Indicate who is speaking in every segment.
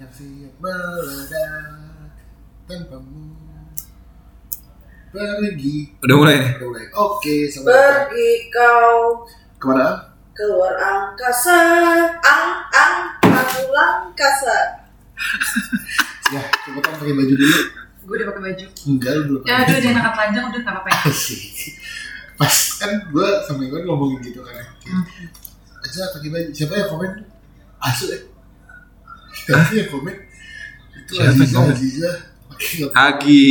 Speaker 1: yang siap meledak tanpamu pergi
Speaker 2: Udah mulai nih.
Speaker 1: Udah mulai. oke selamat datang
Speaker 3: Pergi kau
Speaker 1: kemana
Speaker 3: keluar angkasa, ang ang aku langkasa.
Speaker 1: ya cepetan pakai baju dulu
Speaker 4: Gue udah pakai baju.
Speaker 1: enggak lu belum
Speaker 4: Ya aduh jangan angkat panjang udah nggak apa-apa. ya.
Speaker 1: Asik. pas kan gue sama gue ngomongin gitu kan ya. aja pakai baju siapa yang komen asu ya siapa yang komen itu
Speaker 2: Siapa yang
Speaker 1: Aziza
Speaker 2: komen? Ah.
Speaker 1: Aziza pakai nggak
Speaker 2: Agi,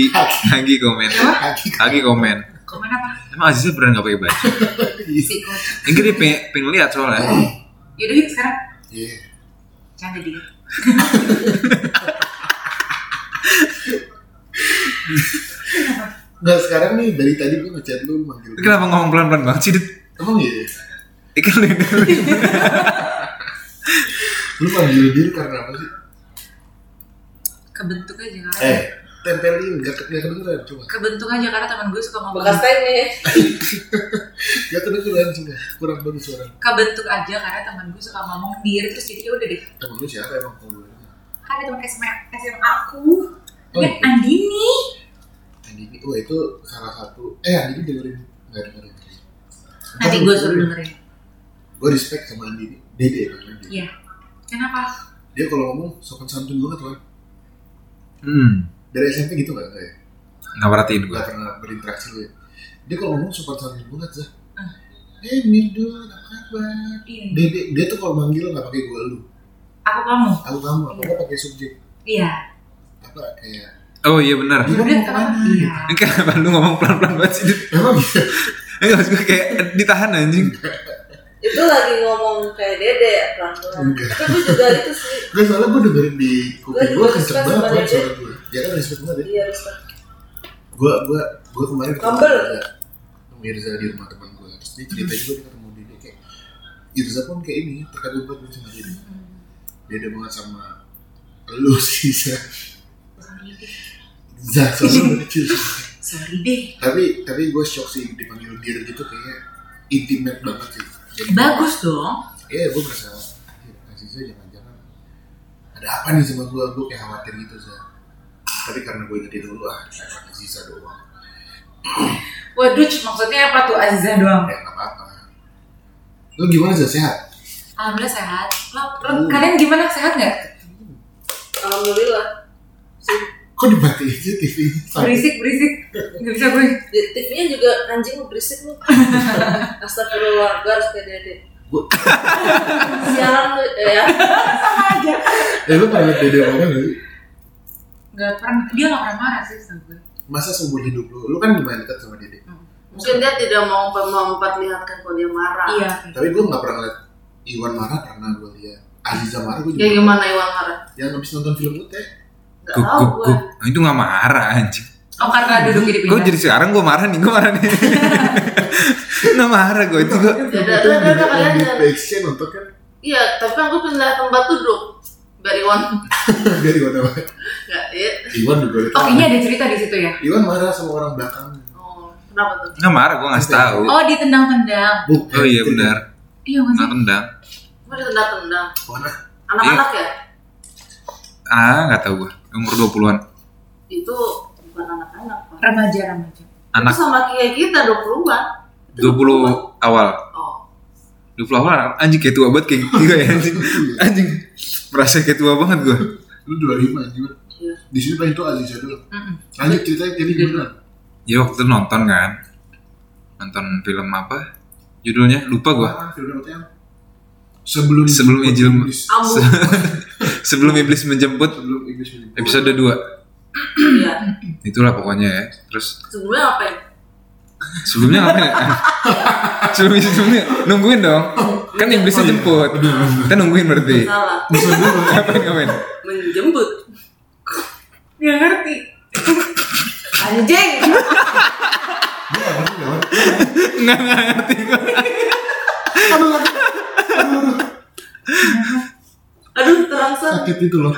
Speaker 2: Agi komen.
Speaker 1: kaki
Speaker 2: Agi komen.
Speaker 4: Komen apa?
Speaker 2: Emang Aziza beneran gak pakai baju?
Speaker 1: Iya.
Speaker 4: Si kocak.
Speaker 2: Ini dia pengen, pengen lihat soalnya.
Speaker 4: Yaudah yuk sekarang.
Speaker 1: Iya.
Speaker 4: Jangan jadi.
Speaker 1: Nah sekarang nih dari tadi gue ngechat lu manggil
Speaker 2: Ini Kenapa ngomong pelan-pelan banget sih? Dit? kan
Speaker 1: Emang iya?
Speaker 2: Ikan lu yang dengerin.
Speaker 1: Lu manggil dia karena apa sih?
Speaker 4: Kebentuk aja karena.
Speaker 1: Eh, tempelin, gak, ke- gak kedengeran cuma
Speaker 4: Kebentuk aja karena teman gue suka ngomong.
Speaker 3: Bekas tanya.
Speaker 1: Gak kedengeran cuma, kurang bagus suara
Speaker 4: Kebentuk aja karena teman gue suka ngomong dir terus jadi ya udah deh.
Speaker 1: Temen lu siapa emang? Temen lu?
Speaker 4: Kan ada teman SMA, SMA aku.
Speaker 1: Oh,
Speaker 4: Kan
Speaker 1: iya.
Speaker 4: Andini.
Speaker 1: Andini, wah Oh, itu salah satu Eh Andini dengerin, gak dengerin
Speaker 4: Nanti gue suruh dengerin.
Speaker 1: Gue respect sama Andini, dede kan Andini
Speaker 4: Iya. Kenapa?
Speaker 1: Dia kalau ngomong sopan santun banget kan
Speaker 2: Hmm,
Speaker 1: Dari SMP gitu gak? Gak, ya?
Speaker 2: gak perhatiin gue.
Speaker 1: gak pernah berinteraksi lu ya Dia kalau ngomong sopan santun banget Zah
Speaker 4: Ah.
Speaker 1: Eh Mirdo, apa kabar?
Speaker 4: Iya.
Speaker 1: Dede, dia tuh kalau manggil gak pakai gua lu
Speaker 4: Aku kamu.
Speaker 1: Aku kamu, apa gua pakai subjek
Speaker 4: Iya.
Speaker 1: Apa kayak
Speaker 2: Oh iya benar.
Speaker 1: Lu
Speaker 4: Udah
Speaker 1: ngomong
Speaker 4: kenapa?
Speaker 1: kemana?
Speaker 4: Iya.
Speaker 2: Ini kenapa lu ngomong pelan-pelan banget sih? Dit?
Speaker 1: Emang gitu?
Speaker 2: Ini maksud gue kayak ditahan anjing.
Speaker 3: Itu lagi ngomong kayak dede pelan-pelan.
Speaker 1: Enggak.
Speaker 3: Tapi gue juga itu sih.
Speaker 1: Gak soalnya gue dengerin di kuping
Speaker 3: Gua
Speaker 1: gue kenceng
Speaker 3: respect
Speaker 1: banget
Speaker 3: sama
Speaker 1: kan
Speaker 3: dia.
Speaker 1: suara gue Ya kan respect banget ya
Speaker 3: Iya respect.
Speaker 1: Gue gue gue kemarin ketemu
Speaker 3: Humble.
Speaker 1: Mirza. Ketemu Mirza di rumah teman gue Terus dia cerita juga dia ketemu dia dia kayak Irza pun kayak ini terkadang gue tuh sama dia dia.
Speaker 4: Hmm.
Speaker 1: Beda banget sama lu sih Za
Speaker 4: Sorry deh.
Speaker 1: Za soalnya udah kecil
Speaker 4: Sorry deh.
Speaker 1: Tapi tapi gue shock sih dipanggil dia gitu kayaknya intimate banget sih Jadi-
Speaker 4: Bagus dong.
Speaker 1: Iya gue merasa "Anjir, Aziza jangan-jangan ada apa nih sama gue gue kayak khawatir gitu sih tapi karena gue ingetin dulu ah cuma Aziza doang
Speaker 4: Waduh, maksudnya apa tuh Aziza doang?
Speaker 1: ya nggak apa-apa lu gimana sih sehat
Speaker 4: Alhamdulillah sehat. Lo, lo
Speaker 1: Hmm.
Speaker 4: kalian gimana sehat nggak?
Speaker 3: Alhamdulillah.
Speaker 1: kok dimatiin sih TV Sakit.
Speaker 4: Berisik berisik. Gak bisa gue.
Speaker 3: Di TV-nya juga anjing berisik lu. Astagfirullah, gue harus kayak dede.
Speaker 1: Gua-
Speaker 3: Sialan lu eh, ya.
Speaker 4: Sama aja.
Speaker 1: eh lu pernah liat dede orang nggak sih
Speaker 4: Gak pernah. Dia nggak pernah marah sih sama gue.
Speaker 1: masa seumur hidup lu lu kan lumayan dekat sama dede
Speaker 3: Mungkin dia tidak mau mem- memperlihatkan kalau dia marah.
Speaker 4: Iya.
Speaker 1: tapi gue nggak pernah ngeliat Iwan marah pernah gue liat Aziza marah gue juga
Speaker 3: Ya gimana Iwan marah?
Speaker 1: yang habis nonton film Ute
Speaker 3: Gak
Speaker 2: Guk,
Speaker 3: tahu
Speaker 2: guk,
Speaker 3: gue.
Speaker 2: guk. Nah, Itu gak marah anjing.
Speaker 4: Oh karena duduk di
Speaker 2: Gue
Speaker 4: pinggir.
Speaker 2: jadi sekarang gue marah nih, gue marah nih. Nah marah gue itu gitu. gue.
Speaker 3: Udah, udah, udah, udah, kalian
Speaker 1: di
Speaker 3: jangan.
Speaker 1: PXC nonton kan
Speaker 3: Iya, tapi aku pindah tempat duduk. Biar Iwan
Speaker 1: dari mana
Speaker 3: nggak ya.
Speaker 1: Iwan juga ada
Speaker 4: Oh kayaknya ada cerita di situ ya.
Speaker 1: Iwan marah sama orang belakang
Speaker 3: Oh, kenapa tuh?
Speaker 2: Gak marah gue ngasih tahu.
Speaker 4: Oh ditendang-tendang.
Speaker 1: Bukan.
Speaker 2: Oh iya benar.
Speaker 4: Iya nggak
Speaker 2: Nah
Speaker 4: sih?
Speaker 2: tendang.
Speaker 3: Gue ditendang-tendang.
Speaker 1: Mana?
Speaker 3: Anak-anak ya?
Speaker 2: Ah nggak tahu gue. Umur 20-an.
Speaker 3: Itu bukan anak-anak, Pak.
Speaker 4: Remaja remaja.
Speaker 3: Itu
Speaker 2: Anak
Speaker 3: sama kayak kita 20-an.
Speaker 2: 20 awal.
Speaker 3: Oh.
Speaker 2: 20 awal anjing kayak tua banget kayak gitu ya anjing. Anjing merasa kayak tua banget gue.
Speaker 1: Lu 25 anjir.
Speaker 3: Iya.
Speaker 1: Di sini paling tua Aziza dulu.
Speaker 4: Mm-mm.
Speaker 1: Lanjut ceritanya jadi gimana?
Speaker 2: Ya waktu itu nonton kan. Nonton film apa? Judulnya lupa gue.
Speaker 1: Ah, film hotel. Sebelum
Speaker 2: Sebelum Ijil-
Speaker 1: Iblis-
Speaker 3: Ambu.
Speaker 2: Sebelum iblis menjemput
Speaker 1: sebelum Iblis menjemput.
Speaker 2: episode 2.
Speaker 3: Iya.
Speaker 2: Itulah pokoknya ya. Terus
Speaker 3: Sebelumnya apa ya?
Speaker 2: sebelumnya ngapain ya? sebelumnya sebelumnya nungguin dong. Kan iblisnya jemput. Kita nungguin berarti.
Speaker 3: Salah.
Speaker 2: Ngapain ngapain?
Speaker 3: Menjemput.
Speaker 4: Gak ngerti.
Speaker 3: Anjing.
Speaker 1: Gua nggak ngerti, nggak ngerti.
Speaker 2: Nggak nggak ngerti gue.
Speaker 1: Aduh, aduh, aduh, aduh.
Speaker 3: Aduh, terangsang.
Speaker 1: sakit itu loh.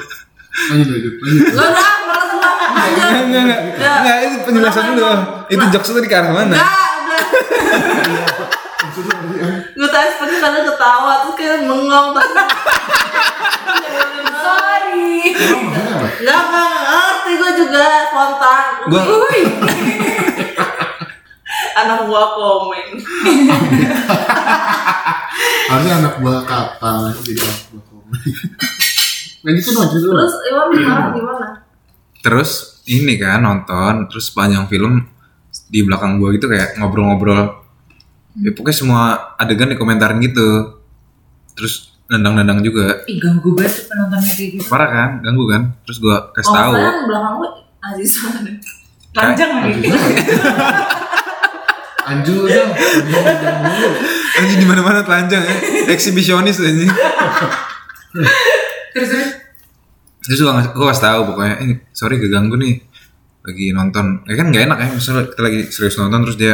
Speaker 1: Lanjut lanjut lanjut.
Speaker 3: Lo dah, malah tembak.
Speaker 2: Nggak
Speaker 3: Anjing.
Speaker 2: nggak nggak. Nggak itu penjelasan dulu. Itu jokes tadi ke arah mana?
Speaker 3: Enggak, udah.
Speaker 1: Maksud lu ngerti, ah?
Speaker 3: Gue tadi seperti kalian ketawa, terus kayak mengong. tadi.
Speaker 4: Sorry.
Speaker 1: Emang maksudnya apa?
Speaker 3: Enggak, enggak ngerti gue juga spontan.
Speaker 2: Gua-
Speaker 3: Wuih. Anak gua komen.
Speaker 1: Harusnya anak buah kapal jadi anak buah komen. Nah gitu dong cerita lu.
Speaker 3: Terus Iwan sekarang gimana?
Speaker 2: terus ini kan nonton terus panjang film di belakang gua gitu kayak ngobrol-ngobrol ya pokoknya semua adegan dikomentarin gitu terus nendang-nendang juga
Speaker 4: Ih, ganggu banget tuh penontonnya kayak gitu.
Speaker 2: parah kan ganggu kan terus gua kasih
Speaker 3: Kalau
Speaker 2: tahu
Speaker 3: saya
Speaker 4: Kan
Speaker 3: yang belakang gue Aziza.
Speaker 4: Panjang lagi.
Speaker 1: Anjur dong. Jangan dulu.
Speaker 2: Eh, anjing di mana-mana telanjang ya eksibisionis anjing
Speaker 4: Terus terus
Speaker 2: terus gua, ngas- gua kasih tahu pokoknya eh sorry keganggu nih lagi nonton ya kan nggak enak ya misalnya kita lagi serius nonton terus dia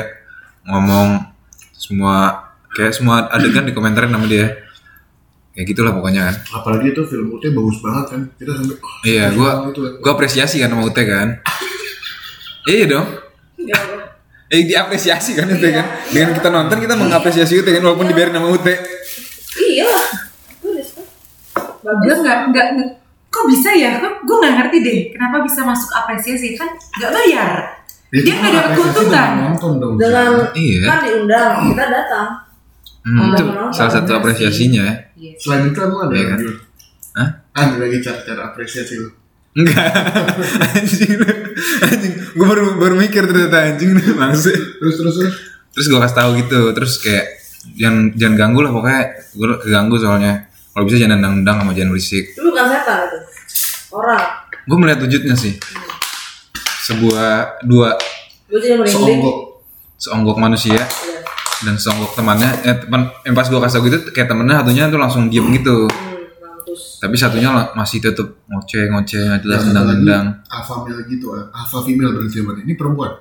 Speaker 2: ngomong semua kayak semua adegan dikomentarin sama dia kayak gitulah pokoknya kan
Speaker 1: Apalagi itu film UT bagus banget kan. Kita sampai oh,
Speaker 2: Iya,
Speaker 1: bagus
Speaker 2: gua
Speaker 1: banget itu kan.
Speaker 2: gua apresiasi kan sama UT kan. iya dong. Eh diapresiasi kan UT kan. Dengan kita nonton kita mengapresiasi UT kan walaupun dibiarin sama UT.
Speaker 3: Iya lah. Itu udah suka.
Speaker 4: gue
Speaker 3: Bagus.
Speaker 4: nggak nggak nge- kok bisa ya? Kok gue nggak ngerti deh kenapa bisa masuk apresiasi kan nggak bayar.
Speaker 1: Itu
Speaker 4: Dia
Speaker 1: kan
Speaker 4: nggak dapat
Speaker 1: apresiasi
Speaker 4: keuntungan.
Speaker 1: dengan Nonton dong.
Speaker 3: Dengan
Speaker 2: Iya.
Speaker 3: kan diundang, kita datang.
Speaker 2: Hmm, itu
Speaker 3: Menonton,
Speaker 2: salah satu
Speaker 3: menonton.
Speaker 2: apresiasinya ya.
Speaker 1: Selain itu emang ada
Speaker 2: Iya
Speaker 1: yang
Speaker 2: kan?
Speaker 1: Jul?
Speaker 2: Hah?
Speaker 1: Ada lagi cara cara apresiasi lu.
Speaker 2: Enggak. anjing. lu. Anjing. Gua baru baru mikir ternyata anjing nih maksud.
Speaker 1: Terus terus terus.
Speaker 2: Terus gua kasih tahu gitu. Terus kayak jangan jangan ganggu lah pokoknya gua keganggu soalnya. Kalau bisa jangan nendang-nendang sama jangan berisik.
Speaker 3: Itu bukan kan setan itu. Orang.
Speaker 2: Gua melihat wujudnya sih. Sebuah dua
Speaker 3: Gue jadi merinding.
Speaker 1: Seonggok.
Speaker 2: seonggok manusia
Speaker 3: Iya.
Speaker 2: dan songkok temannya eh teman eh, pas gua kasih tau gitu kayak temennya satunya tuh langsung diem gitu
Speaker 3: Hmm, mampus.
Speaker 2: tapi satunya la- masih tetep ngoceh ngoceh nggak jelas
Speaker 1: Yang satu
Speaker 2: nendang
Speaker 1: lagi,
Speaker 2: nendang
Speaker 1: Alpha male gitu. Alpha female berarti mana? Ini perempuan.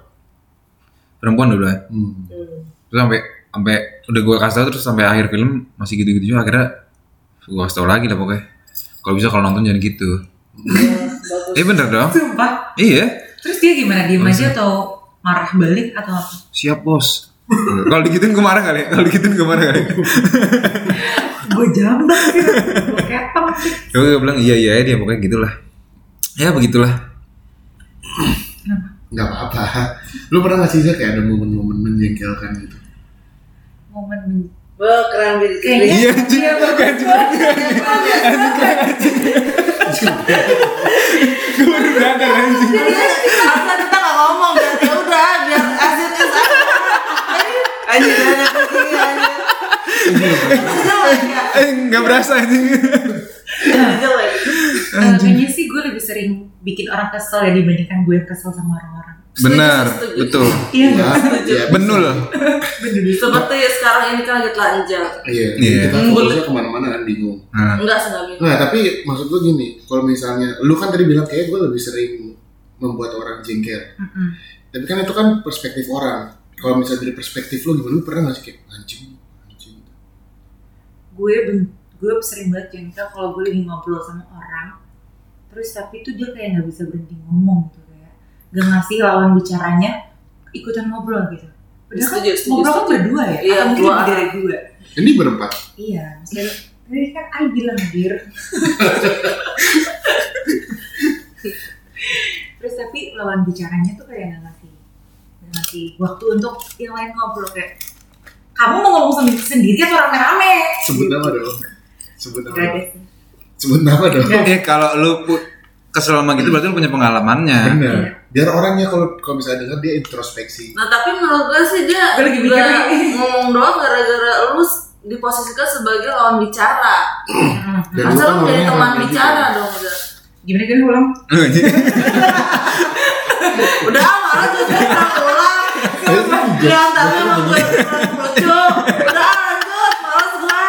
Speaker 2: perempuan udah
Speaker 1: Hmm.
Speaker 3: Hmm.
Speaker 2: terus sampai sampai udah gua kasih tau terus sampai akhir film masih gitu gitu juga akhirnya gua kasih tau lagi lah pokoknya kalau bisa kalau nonton jangan gitu
Speaker 3: Iya, bagus.
Speaker 2: eh bener dong
Speaker 4: Sumpah.
Speaker 2: iya
Speaker 4: Terus dia gimana? Diem aja atau marah balik atau apa?
Speaker 2: siap bos kalau digituin gue marah kali ya? kalau digituin gue marah kali ya?
Speaker 4: Gue jambak sih. Gue kepeng sih.
Speaker 2: ya gue bilang iya iya dia pokoknya gitulah ya begitulah
Speaker 4: Kenapa?
Speaker 1: Gak apa-apa. Lu pernah nggak sih Zak, kayak ada momen-momen menjengkelkan gitu?
Speaker 4: Momen men-
Speaker 3: Wah, keren gitu. diri.
Speaker 4: Kayaknya
Speaker 2: iya anjing anjing gue baru sadar anjing
Speaker 3: Karena kita nggak ngomong berarti ya udah biar asin is asin. Anjir, anak kucing, anjir. Jelek ya,
Speaker 2: eh nggak berasa anjing
Speaker 3: jelek.
Speaker 4: Eh, kayaknya sih gue lebih sering bikin orang kesel ya dibandingkan gue yang kesel sama orang-orang.
Speaker 2: benar
Speaker 3: Setuju, setuju.
Speaker 2: betul
Speaker 4: Iya. nggak?
Speaker 1: ya,
Speaker 2: benul
Speaker 3: Seperti sekarang ini kan lagi telanjang.
Speaker 1: Iya,
Speaker 2: Iya.
Speaker 1: kita fokusnya kemana-mana kan bingung.
Speaker 2: nah,
Speaker 3: Enggak sengaja.
Speaker 1: Nah, tapi maksud gue gini, kalau misalnya, lu kan tadi bilang kayak gue lebih sering membuat orang jengkel.
Speaker 4: Mm-mm.
Speaker 1: Tapi kan itu kan perspektif orang. Kalau misalnya dari perspektif lu gimana, lu pernah nggak sih kayak anjing, anjing.
Speaker 4: gue ben- gue sering banget jengkel kalau gue lagi ngobrol sama orang terus tapi tuh dia kayak nggak bisa berhenti ngomong gitu kayak gak ngasih lawan bicaranya ikutan ngobrol gitu padahal kan
Speaker 3: Setuju, setuju,
Speaker 4: ngobrol kan
Speaker 3: setuju.
Speaker 4: berdua ya
Speaker 3: Iya,
Speaker 4: atau mungkin
Speaker 3: dua
Speaker 4: lebih
Speaker 3: arah.
Speaker 4: dari dua
Speaker 1: Ini berempat.
Speaker 4: iya maksudnya tadi kan I bilang dir terus tapi lawan bicaranya tuh kayak nggak ngasih nggak ngasih waktu untuk yang lain ngobrol kayak kamu mau ngomong sendiri sendiri atau rame-rame
Speaker 1: Sebut nama dong. Sebut nama.
Speaker 4: Gak
Speaker 1: dong.
Speaker 4: ada sih.
Speaker 1: Sebut nama dong.
Speaker 2: eh kalau lu pu- kesel sama gitu berarti lu punya pengalamannya
Speaker 1: Benar. Biar orangnya kalau kalau misalnya denger dia introspeksi.
Speaker 3: Nah tapi menurut gue sih dia
Speaker 4: Gue lagi mikir
Speaker 3: nggak
Speaker 4: lagi.
Speaker 3: ngomong doang gara-gara lu s- diposisikan sebagai lawan bicara.
Speaker 1: Dan lu
Speaker 3: Masa
Speaker 1: kan
Speaker 3: lu jadi
Speaker 1: orangnya
Speaker 3: teman
Speaker 1: emang kayak
Speaker 3: bicara
Speaker 1: gitu.
Speaker 3: dong udah.
Speaker 4: Gimana gini ulang?
Speaker 2: Lu aja.
Speaker 3: Udah malah tuh gue pulang.
Speaker 1: Eh, lu juga.
Speaker 3: Jangan tapi
Speaker 1: iya.
Speaker 3: emang gue kurang lucu. Udah lanjut, males gue.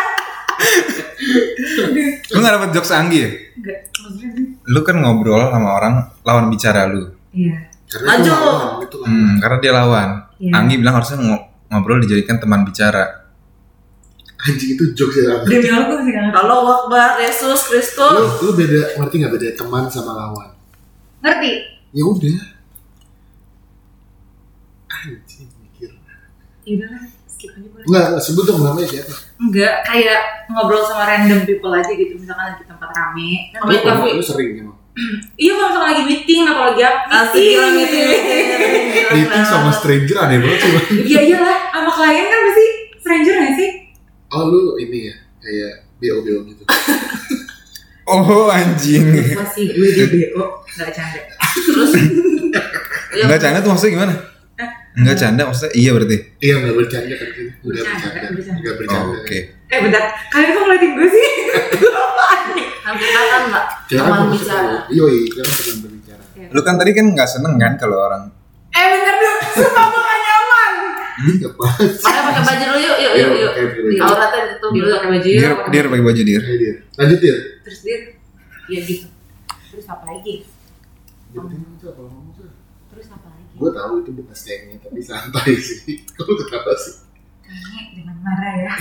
Speaker 2: lu nggak dapet jokes anggi ya
Speaker 4: Enggak, maksudnya sih.
Speaker 2: lu kan ngobrol sama orang lawan bicara lu
Speaker 4: Iya.
Speaker 1: Karena itu
Speaker 3: Lanjut.
Speaker 1: lawan, itu kan. lawan.
Speaker 2: hmm, karena dia lawan
Speaker 4: Iya.
Speaker 2: Anggi bilang harusnya ngo- ngobrol dijadikan teman bicara
Speaker 1: Anjing itu jokes ya.
Speaker 4: Dia bilang aku masih nggak ngerti.
Speaker 3: Kalau Akbar, Yesus
Speaker 1: Lu,
Speaker 3: Kristus.
Speaker 1: lu beda ngerti nggak beda teman sama lawan?
Speaker 4: Ngerti?
Speaker 1: Ya udah. Anjing mikir.
Speaker 4: Ya udah lah, skip aja boleh.
Speaker 1: Enggak, enggak, sebut dong namanya siapa?
Speaker 4: Enggak, kayak ngobrol sama random people aja gitu. Misalkan lagi tempat rame. Kan
Speaker 3: Tapi-
Speaker 1: Lu-
Speaker 3: tapi-
Speaker 1: Lu sering emang.
Speaker 4: iya kalau misalnya lagi meeting atau lagi apa
Speaker 3: Asik Iya, gila meeting
Speaker 1: Meeting sama stranger aneh banget sih. Bang.
Speaker 4: iya iyalah sama klien kan pasti stranger nggak sih
Speaker 1: Oh lu ini ya kayak bo bo gitu.
Speaker 2: Oh anjing.
Speaker 4: masih gue di bo nggak canda
Speaker 3: Terus ya,
Speaker 2: Enggak canda tuh maksudnya gimana? Enggak canda maksudnya iya berarti.
Speaker 1: Iya nggak bercanda kan sih. Nggak
Speaker 4: Bercanda,
Speaker 1: bercanda.
Speaker 4: bercanda.
Speaker 1: Nggak bercanda.
Speaker 2: Oh, Oke.
Speaker 4: eh bentar kalian kok ngeliatin gue sih
Speaker 3: Hampir kata mbak
Speaker 1: Kita kan
Speaker 3: Teman
Speaker 1: fokus ke-
Speaker 3: bicara
Speaker 1: Iya iya kita kan teman berbicara.
Speaker 2: Lu kan tadi kan nggak seneng kan kalau orang
Speaker 4: eh bentar dong sumpah gue nggak nyaman
Speaker 1: Nggak bahas.
Speaker 3: Ayo pakai baju dulu yuk yuk yuk yuk
Speaker 1: Iya, pakai baju.
Speaker 3: Auratnya ditutup
Speaker 4: dia
Speaker 3: dulu
Speaker 4: pakai baju
Speaker 2: dir
Speaker 3: Iya.
Speaker 2: dir pakai baju dir.
Speaker 1: Ayo dia. Lanjut dia.
Speaker 4: terus dia ya gitu terus apa lagi terus apa lagi
Speaker 1: Gue tahu itu bukan stengnya tapi santai sih. Kamu ketawa sih.
Speaker 4: kayaknya jangan marah ya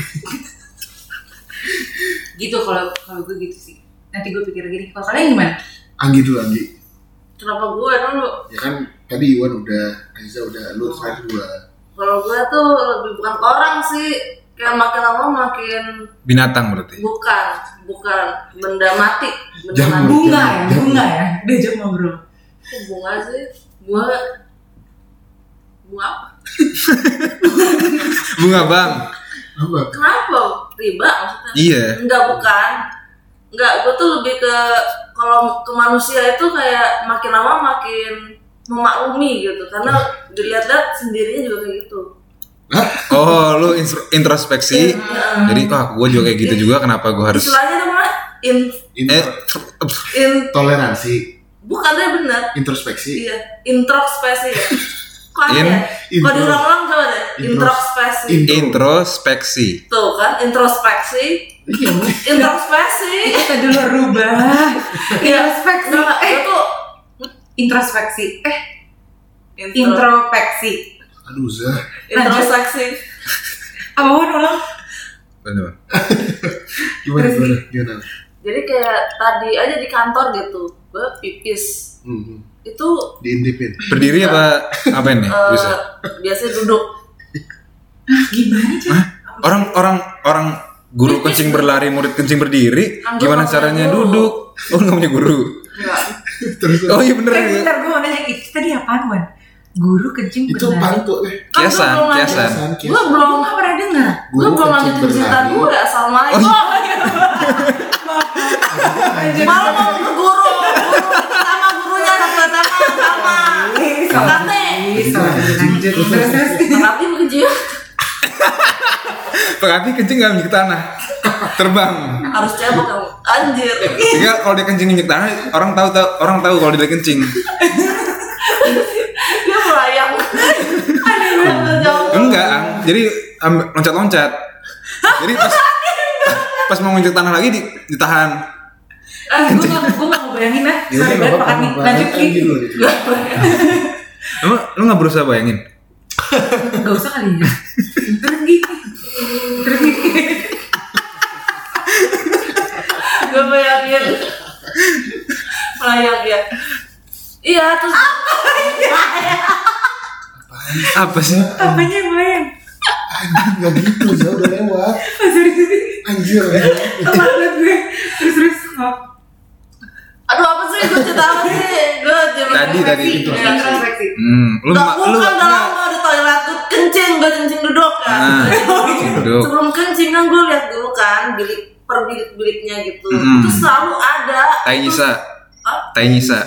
Speaker 4: gitu kalau kalau gue gitu sih nanti gue pikir gini kalau kalian gimana
Speaker 1: Anggi dulu Anggi.
Speaker 3: Kenapa gue dulu?
Speaker 1: Ya kan tadi Iwan udah, Aziza udah,
Speaker 4: Oh.
Speaker 1: lu terakhir gue.
Speaker 3: Kalau gue tuh lebih bukan ke orang sih Kayak makin lama makin
Speaker 2: Binatang berarti.
Speaker 3: bukan Bukan benda mati Benda
Speaker 1: Jamu.
Speaker 3: mati
Speaker 4: bunga ya bunga ya diajak ngobrol
Speaker 3: Kok bunga sih? Gue Bunga apa?
Speaker 2: Bunga bang.
Speaker 1: Apa?
Speaker 3: Kenapa? Riba maksudnya?
Speaker 2: Iya.
Speaker 3: Enggak bukan. Enggak, gue tuh lebih ke kalau ke manusia itu kayak makin lama makin memaklumi gitu karena dilihat-lihat sendirinya juga kayak gitu.
Speaker 2: Oh lu instro- introspeksi.
Speaker 3: Iya.
Speaker 2: Jadi wah gue juga kayak gitu juga kenapa gue harus
Speaker 3: Nah, Istilahnya itu mana? In,
Speaker 1: Ini
Speaker 2: eh
Speaker 3: in
Speaker 1: toleransi,
Speaker 3: bukan deh benar.
Speaker 1: introspeksi,
Speaker 3: Iya, introspeksi ya. Kok aneh
Speaker 2: In-
Speaker 3: ya? Kalau
Speaker 1: intro-
Speaker 3: diulang-ulang coba deh,
Speaker 1: Intros-
Speaker 3: introspeksi.
Speaker 1: in-
Speaker 2: introspeksi.
Speaker 3: Tuh kan, introspeksi,
Speaker 1: Iya,
Speaker 3: introspeksi.
Speaker 4: kita dulu rubah introspeksi
Speaker 3: Enggak,
Speaker 4: eh
Speaker 3: gue tuh
Speaker 4: introspeksi eh
Speaker 3: intro,
Speaker 4: introspeksi
Speaker 1: Aduh Zah,
Speaker 3: introspeksi.
Speaker 4: apa wan ulang
Speaker 2: Bener.
Speaker 1: gimana
Speaker 4: Terus?
Speaker 1: gimana gimana?
Speaker 3: jadi kayak tadi aja di kantor gitu gue pipis
Speaker 1: Hmm,
Speaker 3: itu
Speaker 1: diintipin.
Speaker 2: Berdiri apa apa ini?
Speaker 3: eh,
Speaker 2: Bisa.
Speaker 3: biasanya duduk
Speaker 4: gimana sih
Speaker 2: Orang orang orang guru kencing berlari, murid kencing berdiri.
Speaker 3: Kan gua
Speaker 2: Gimana
Speaker 3: nggak
Speaker 2: caranya
Speaker 3: punya guru.
Speaker 2: duduk? Oh nggak punya guru.
Speaker 3: enggak
Speaker 1: Terus
Speaker 2: Oh iya bener.
Speaker 4: eh bentar gue mau nanya itu tadi apaan wan guru kencing
Speaker 1: itu
Speaker 4: berlari
Speaker 1: pantu eh.
Speaker 3: Kan gua
Speaker 2: Kiasan,
Speaker 3: belum lanjut-
Speaker 2: kiasan.
Speaker 1: Kiasan,
Speaker 3: gua
Speaker 1: kiasan.
Speaker 3: belum
Speaker 4: gue nggak pernah dengar
Speaker 3: gua belum
Speaker 1: kencing
Speaker 3: lanjutin cerita
Speaker 1: berlari.
Speaker 3: gue assalamualaikum
Speaker 2: Oh, iya.
Speaker 3: malu mau ke guru Guru sama gurunya anak pertama sama Kate
Speaker 1: Jinjit, terus, terus, terus.
Speaker 3: berarti begitu
Speaker 2: Pengganti kencing nggak menginjak tanah, terbang.
Speaker 3: harus cebok kamu anjir
Speaker 2: Sehingga kalau dia kencing menginjak tanah, orang tahu tahu orang tahu kalau dia kencing.
Speaker 3: dia melayang Aneh banget, jauh.
Speaker 2: Enggak, Ang. jadi loncat loncat. Jadi pas pas mau menginjak tanah lagi di- ditahan.
Speaker 4: Ah, gue gak, gue gak mau bayangin ah.
Speaker 1: Ya udah
Speaker 4: Sorry
Speaker 1: nggak
Speaker 4: banget
Speaker 1: apa-apa,
Speaker 4: Pak Ani.
Speaker 1: nggak apa-apa.
Speaker 4: Lanjut Ki.
Speaker 1: Anggi dulu deh.
Speaker 2: Emang lu nggak berusaha bayangin?
Speaker 4: Gak usah kali ya. Terus Ki. Terus Ki.
Speaker 3: gue bayangin melayang dia iya terus
Speaker 2: Apa sih?
Speaker 4: Apanya yang bayang?
Speaker 1: Anjing nggak gitu, Zah udah lewat.
Speaker 4: Oh, sorry sorry.
Speaker 1: Anjir. anjir.
Speaker 4: Telat banget gue. Terus terus. maaf.
Speaker 3: aduh apa sih gue cerita apa sih gue jadi
Speaker 2: Tadi, tadi.
Speaker 1: Ya,
Speaker 3: Iya,
Speaker 4: Introspeksi.
Speaker 2: Hmm, lu
Speaker 3: Gak
Speaker 2: ma-
Speaker 3: bukan
Speaker 2: lu
Speaker 3: kan udah lama di toilet gue kencing, gue kencing duduk
Speaker 2: Nah,
Speaker 3: kan
Speaker 2: duduk.
Speaker 3: Sebelum kencing kan gue lihat dulu kan bilik per bilik-biliknya gitu
Speaker 2: Mm-mm.
Speaker 3: Itu selalu ada
Speaker 2: Tai
Speaker 3: Terus-
Speaker 2: Nisa.
Speaker 3: Hah?
Speaker 2: Tai Nisa.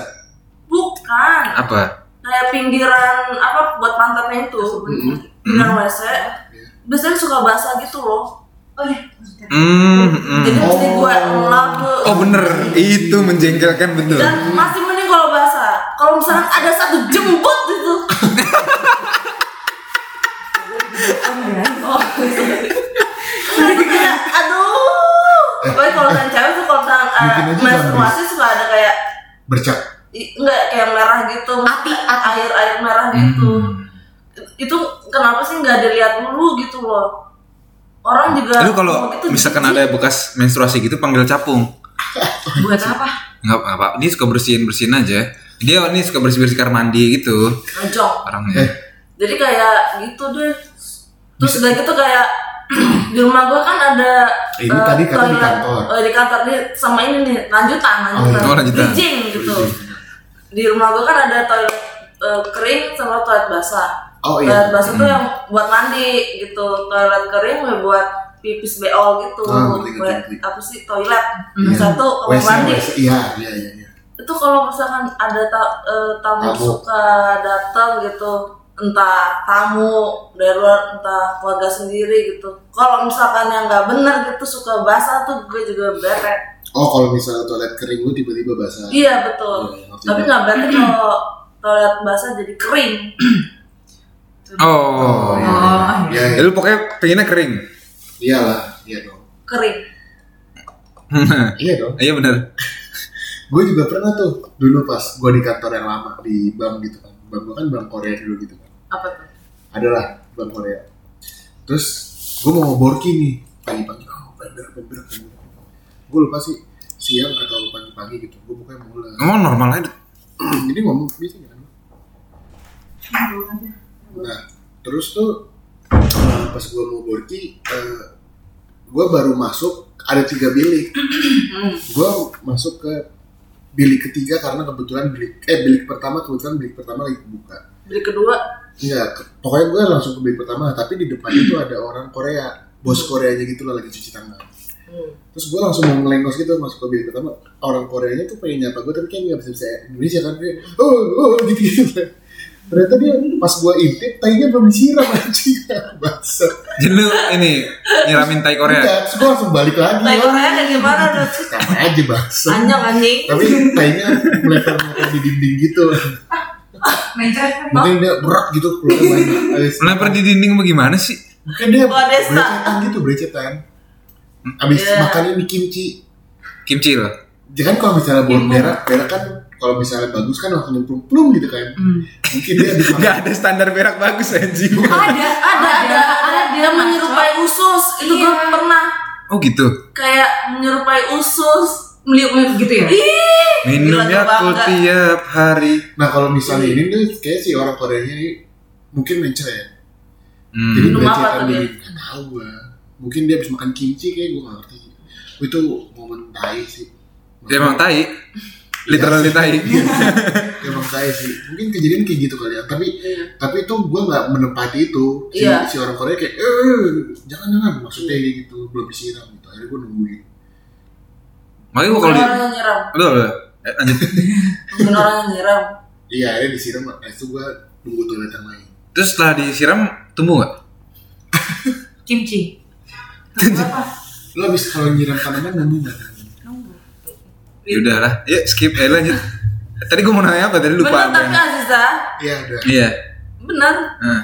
Speaker 3: Bukan
Speaker 2: Apa?
Speaker 3: Kayak pinggiran apa buat pantatnya itu Pinggiran WC Biasanya suka basah gitu loh
Speaker 4: Oh ya.
Speaker 2: Hmm, hmm.
Speaker 3: Jadi mesti gue lap tuh.
Speaker 2: Oh bener, itu menjengkelkan betul.
Speaker 3: Dan masih mending kalau basah Kalau misalkan ada satu jembut gitu Oh, Jadi kayak, aduh. Pokoknya kalau misalnya cewek tuh kalau misalnya uh,
Speaker 1: Mungkin aja
Speaker 3: menstruasi suka ada kayak
Speaker 1: Bercak.
Speaker 3: i- enggak kayak merah gitu, mati air air merah gitu.
Speaker 2: Hmm.
Speaker 3: Itu kenapa sih nggak dilihat dulu gitu loh? Orang juga
Speaker 2: Lu kalau
Speaker 3: mau gitu
Speaker 2: misalkan
Speaker 3: jijik.
Speaker 2: ada bekas menstruasi gitu panggil capung.
Speaker 4: Buat apa?
Speaker 2: Nggak apa, dia suka bersihin bersihin aja. Dia ini suka bersih bersih kamar mandi gitu
Speaker 3: ngejok.
Speaker 2: orangnya.
Speaker 3: Jadi kayak gitu deh. Terus udah gitu kayak di rumah gue kan ada
Speaker 1: Ini
Speaker 3: eh,
Speaker 1: tadi kata di
Speaker 3: toilet. Oh,
Speaker 1: kantor.
Speaker 3: Eh, di kantor nih sama ini nih lanjutan lanjutan
Speaker 2: Oh, lanjutan.
Speaker 3: bridging gitu gitu di rumah gue kan ada toilet eh, kering sama toilet basah
Speaker 1: Oh
Speaker 3: toilet
Speaker 1: iya.
Speaker 3: basah tuh yang buat mandi gitu toilet kering ya buat pipis beol gitu
Speaker 1: Ah, ngerti, ngerti,
Speaker 3: Buat-
Speaker 1: ngerti.
Speaker 3: apa sih toilet
Speaker 1: Iya.
Speaker 3: satu kamar
Speaker 1: WC,
Speaker 3: mandi
Speaker 1: WC. Iya, iya, iya. iya.
Speaker 3: itu kalau misalkan ada ta- eh, tamu
Speaker 1: Tamu.
Speaker 3: suka datang gitu entah tamu dari luar entah keluarga sendiri gitu kalau misalkan yang nggak bener gitu suka basah tuh gue juga bete
Speaker 1: Oh, kalau misalnya toilet kering lu tiba-tiba basah.
Speaker 3: iya betul
Speaker 1: Iya, ngerti.
Speaker 3: tapi nggak bete kalau toilet basah jadi kering
Speaker 1: iya,
Speaker 2: Oh.
Speaker 1: iya.
Speaker 2: Ya,
Speaker 1: Iya,
Speaker 2: lu pokoknya pengennya kering.
Speaker 1: iyalah, iya dong.
Speaker 3: kering
Speaker 1: Iya dong.
Speaker 2: Iya benar.
Speaker 1: Gue juga pernah tuh dulu pas gue di kantor yang lama di bank gitu kan. Bank gue kan bank Korea dulu gitu kan.
Speaker 3: apa tuh
Speaker 1: Adalah bank Korea. Terus gue mau ngeborki nih pagi-pagi. Oh, bener, bener, bener. Gue lupa sih siang atau pagi-pagi gitu. Gue bukannya mulai.
Speaker 2: Emang normal aja.
Speaker 1: Jadi ngomong biasanya kan. Nah, terus tuh eh, pas gue mau borki, gue baru masuk ada tiga bilik. gue masuk ke bilik ketiga karena kebetulan bilik eh bilik pertama kebetulan bilik pertama lagi kebuka.
Speaker 3: beli kedua
Speaker 1: Iya, ke- pokoknya gue langsung ke bilik pertama. Tapi di depan itu ada orang Korea, bos Koreanya gitu lah lagi cuci tangan.
Speaker 3: hmm.
Speaker 1: Terus gue langsung mau ngelengos gitu masuk ke bilik pertama. Orang Koreanya tuh pengen nyapa gue tapi kayak nggak bisa bisa Indonesia kan dia. Oh, oh gitu gitu. Ternyata dia pas gue intip, tainya belum disiram anjing. Bahasa.
Speaker 2: Jadi lu ini nyiramin tai Korea.
Speaker 1: Enggak, terus gue langsung balik lagi.
Speaker 3: Nah, Korea kayak gimana tuh?
Speaker 1: Sama aja bahasa.
Speaker 3: Anjang anjing.
Speaker 1: Tapi tainya melebar-melebar di dinding gitu.
Speaker 4: mencret
Speaker 1: Mungkin dia berat gitu keluarnya banyak. Abis-
Speaker 2: Melempar di dinding apa gimana sih?
Speaker 1: Mungkin dia
Speaker 3: Luar biasa.
Speaker 1: berecetan gitu, berecetan. Abis
Speaker 3: Iya.
Speaker 1: makannya mie kimchi.
Speaker 2: Kimchi loh.
Speaker 1: Ya kan kalau misalnya buat
Speaker 4: Timbul.
Speaker 1: berak, berak kan kalau misalnya bagus kan langsung nyemplung plum gitu kan. Mungkin dia habis makan.
Speaker 2: Gak ada standar berak bagus anjing.
Speaker 4: ada
Speaker 3: Ada, ada, ada. Dia menyerupai usus. Itu gue
Speaker 4: Iya.
Speaker 3: pernah
Speaker 2: Oh gitu.
Speaker 3: kayak menyerupai usus.
Speaker 4: meliuk-meliuk gitu ya
Speaker 3: Iya. Ih,
Speaker 2: Minum
Speaker 3: Gila,
Speaker 2: Yakult
Speaker 3: bangga.
Speaker 2: tiap hari.
Speaker 1: Nah kalau misalnya ini tuh kayak si orang Koreanya ini mungkin mencer ya. Jadi
Speaker 2: Hmm.
Speaker 3: Minum
Speaker 1: berecetan
Speaker 3: apa tuh
Speaker 1: dia
Speaker 3: dia?
Speaker 1: nggak tahu gua. Mungkin dia habis makan kimchi kayak gue gak ngerti. Itu momen tai sih.
Speaker 2: Dia Hmm. emang tai. Literally tai.
Speaker 1: Iya. Emang tai sih. Mungkin kejadian kayak gitu kali ya. Tapi tapi itu gue nggak menempati itu. Si,
Speaker 3: Iya.
Speaker 1: si orang Korea kayak eh jangan jangan maksudnya kayak gitu belum disiram gitu. Akhirnya gue nungguin.
Speaker 2: Makanya gua kalau
Speaker 3: Bukan
Speaker 2: di...
Speaker 3: orang yang nyiram.
Speaker 2: Lu, lu. Eh, lanjut.
Speaker 3: Bukan orang yang nyiram.
Speaker 1: Iya akhirnya disiram. Nah itu gue nunggu toilet yang lain.
Speaker 2: Terus setelah disiram tumbuh gak?
Speaker 4: kimchi Tunggu apa
Speaker 1: Lo abis kalau nyiram tanaman nunggu nggak?
Speaker 3: Iya.
Speaker 2: Ya udahlah. Ya skip. Eh lanjut. Tadi gua mau nanya apa? Tadi
Speaker 3: Bener
Speaker 2: lupa. apa
Speaker 3: tapi
Speaker 2: yang-
Speaker 3: Aziza,
Speaker 1: Iya udah.
Speaker 2: Iya.
Speaker 3: bener.
Speaker 2: Nah.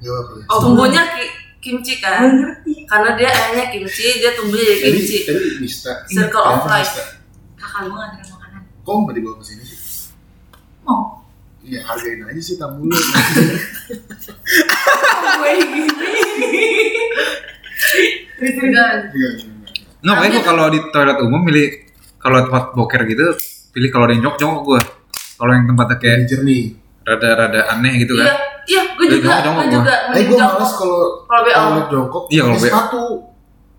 Speaker 1: Gak apa-apa. ya.
Speaker 3: Tumbuhnya ki- kimchi
Speaker 4: Nggak
Speaker 3: kan?
Speaker 4: ngerti
Speaker 3: Karena dia ayahnya kimchi, dia tumbuhnya jadi
Speaker 1: Tadi
Speaker 3: kimchi.
Speaker 1: tadi Nista.
Speaker 3: Circle of
Speaker 1: Kenapa
Speaker 3: life.
Speaker 1: Nista?
Speaker 4: kakak gue nganterin makanan
Speaker 1: Kok nggak dibawa ke sini sih?
Speaker 4: mau
Speaker 1: Iya hargain aja sih tamu lu.
Speaker 4: gue gini Terus
Speaker 1: Iya, iya, iya.
Speaker 2: Nggak, makanya gue kalau di toilet umum milih kalau tempat boker gitu pilih kalau ada yang jongkok jongkok gue. Kalau yang tempatnya kayak
Speaker 1: Ini jernih.
Speaker 2: rada-rada aneh gitu
Speaker 3: Iya,
Speaker 2: kan.
Speaker 3: iya, gue
Speaker 2: Eh,
Speaker 3: juga,
Speaker 2: jangan, jangan,
Speaker 3: gue juga.
Speaker 1: Eh gue
Speaker 3: menjongkok.
Speaker 1: males kalau
Speaker 3: Kalau BO.
Speaker 1: toilet jongkok.
Speaker 2: Iya, kalau
Speaker 1: pakai
Speaker 2: BO.
Speaker 1: Sepatu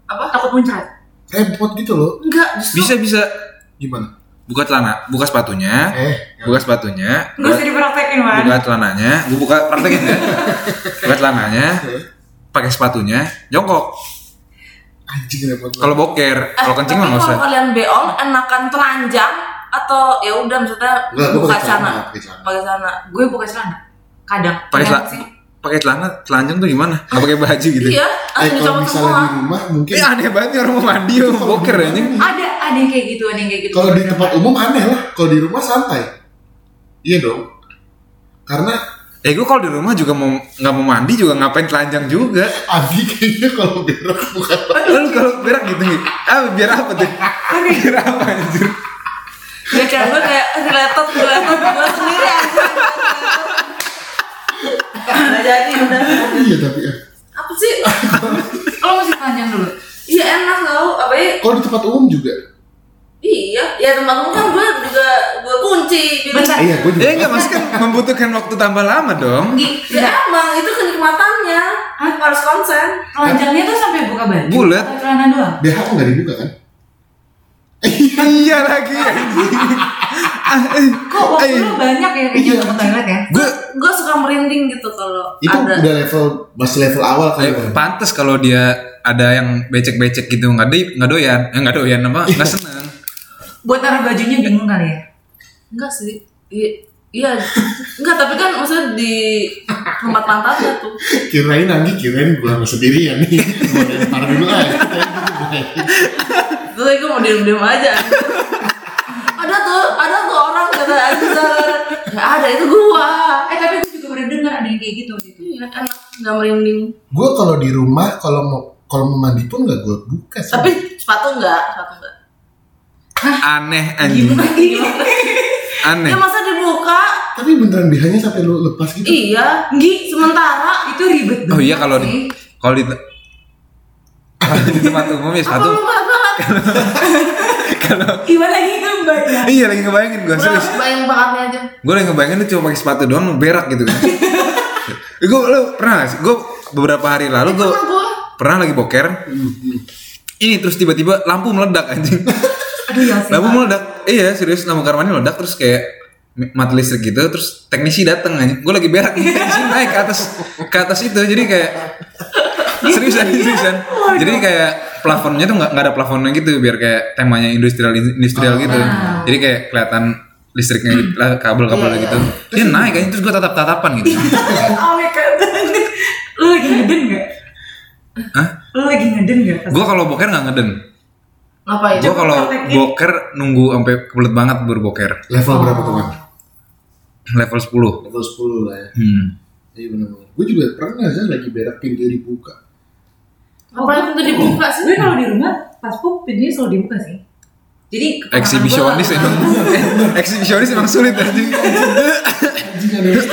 Speaker 3: apa?
Speaker 4: takut muncrat
Speaker 1: repot gitu loh.
Speaker 3: Enggak, justru
Speaker 2: Bisa bisa
Speaker 1: Gimana?
Speaker 2: buka celana, buka sepatunya,
Speaker 1: Eh,
Speaker 2: buka sepatunya,
Speaker 4: gue
Speaker 2: buka,
Speaker 4: sering dipraktekin man
Speaker 2: buka celananya, gue buka praktekin ya. Buka celananya,
Speaker 1: eh,
Speaker 2: pakai sepatunya, jongkok.
Speaker 1: anjing repot. banget.
Speaker 2: Kalau boker,
Speaker 3: Eh,
Speaker 2: kalau kencing
Speaker 3: tapi
Speaker 2: mah nggak usah.
Speaker 3: Kalau kalian beol enakan telanjang atau ya udah maksudnya
Speaker 1: Enggak, gua
Speaker 3: buka
Speaker 1: pakai
Speaker 3: celana,
Speaker 1: celana, pakai celana.
Speaker 3: pakai celana.
Speaker 4: gue buka celana kadang
Speaker 2: Pakai
Speaker 4: Kadang
Speaker 2: celana,
Speaker 4: sih.
Speaker 2: pakai celana, telanjang tuh gimana? Nggak pakai baju gitu.
Speaker 1: Eh
Speaker 3: Iya, langsung
Speaker 1: kalau
Speaker 3: dicopot
Speaker 1: misalnya
Speaker 3: semua.
Speaker 1: di rumah mungkin.
Speaker 2: Ini aneh banget nih orang mau mandi orang mau boker ya anjing.
Speaker 4: ada ada yang kayak gitu ada yang kayak gitu
Speaker 1: Kalau di tempat umum aneh lah. Kalau di rumah santai. Iya dong. Karena
Speaker 2: Eh gue kalau di rumah juga mau nggak mau mandi juga ngapain telanjang juga.
Speaker 1: Abi kayaknya kalau berak bukan
Speaker 2: Lalu kalau berak gitu nih, ah biar apa tuh? Biar apa anjir?
Speaker 3: Bacaan gue kayak related, related gue sendiri aja. Nggak jadi udah.
Speaker 1: Iya tapi eh.
Speaker 3: Apa sih?
Speaker 4: lo mesti panjang dulu
Speaker 3: Iya enak tau, apa ya?
Speaker 1: Kalau di tempat umum juga.
Speaker 3: Iya, ya tempat umum kan gue juga gue kunci. Jadi-
Speaker 4: Bentar.
Speaker 1: Iya, gue juga.
Speaker 2: Ya enggak maksudnya kan membutuhkan waktu tambah lama dong.
Speaker 4: Di-
Speaker 3: Ya
Speaker 4: Nggak,
Speaker 3: emang itu kenikmatannya harus konsen.
Speaker 4: telanjangnya tuh sampai buka baju
Speaker 2: Bulat.
Speaker 4: atau celana doang
Speaker 1: BH nggak dibuka kan?
Speaker 2: iya lagi anjing. Eh,
Speaker 4: Kok waktu lu banyak ya kayaknya
Speaker 1: Iya.
Speaker 4: untuk ke toilet ya?
Speaker 2: gue
Speaker 3: gue suka merinding gitu kalau
Speaker 1: itu
Speaker 3: ada
Speaker 1: udah level masih level awal kan. kali
Speaker 2: eh,
Speaker 1: Bang.
Speaker 2: pantas kalau dia ada yang becek-becek gitu nggak di nggak doyan eh, nggak doyan apa nggak seneng
Speaker 4: Buat taruh bajunya bingung kali ya?
Speaker 3: enggak sih I- iya enggak tapi kan maksudnya di tempat pantatnya tuh
Speaker 1: kirain nanti kirain gue sama sendirian nih mau lempar dulu aja
Speaker 3: terus gue mau diem diem aja ada tuh ada tuh orang kata Aziza nggak ada itu gua
Speaker 4: Eh tapi gue juga pernah dengar ada yang kayak gitu gitu.
Speaker 3: Iya, enak nggak merinding
Speaker 1: gue kalau di rumah kalau mau kalau mau mandi pun gak gue buka sih
Speaker 3: tapi sepatu enggak sepatu enggak
Speaker 2: aneh anjing aneh
Speaker 3: ya masa dibuka
Speaker 1: tapi beneran bihanya sampai lu lepas gitu
Speaker 3: iya nggih sementara
Speaker 4: Itu ribet banget.
Speaker 2: oh iya kalau
Speaker 4: sih.
Speaker 2: di kalau di di tempat umum ya
Speaker 3: apa
Speaker 2: sepatu
Speaker 3: lu nggak banget
Speaker 4: Iwan lagi ya? ngebayang.
Speaker 2: iya lagi ngebayangin gue
Speaker 3: udah
Speaker 2: serius
Speaker 3: bayang bangetnya aja
Speaker 2: gue lagi ngebayangin lu cuma pakai sepatu doang berak gitu kan gue lu pernah gue beberapa hari lalu gue
Speaker 3: Pernah gua
Speaker 2: pernah lagi boker ini terus tiba-tiba lampu meledak anjing
Speaker 4: Aduh ya sih.
Speaker 2: lampu meledak iya serius lampu karmani meledak terus kayak mati listrik gitu terus teknisi dateng aja gue lagi berak teknisi naik ke atas ke atas itu jadi kayak seriusan seriusan jadi kayak plafonnya tuh nggak nggak ada plafonnya gitu biar kayak temanya industrial industrial
Speaker 4: Oh,
Speaker 2: gitu jadi kayak kelihatan listriknya gitu lah
Speaker 4: Iya,
Speaker 2: kabel-kabel gitu dia naik aja terus gue tatap tatapan gitu
Speaker 4: Oh my god. Lu lagi ngeden gak?
Speaker 2: Hah?
Speaker 4: Lu lagi ngeden gak?
Speaker 2: gue kalau boker nggak ngeden
Speaker 3: ngapain
Speaker 2: gue kalau
Speaker 4: praktekin.
Speaker 2: boker nunggu sampai kebelet banget baru boker
Speaker 1: level berapa teman
Speaker 2: level 10
Speaker 1: level 10 lah ya
Speaker 2: hmm.
Speaker 1: iya benar gue juga pernah sih lagi berak pintu dibuka
Speaker 3: ngapain itu dibuka sih
Speaker 4: Gue kalau di rumah pas pup pintunya selalu dibuka sih. Jadi keponakan
Speaker 2: Eksibisionis
Speaker 4: gua-
Speaker 2: emang Eksibisionis emang sulit anjing
Speaker 1: anjing ada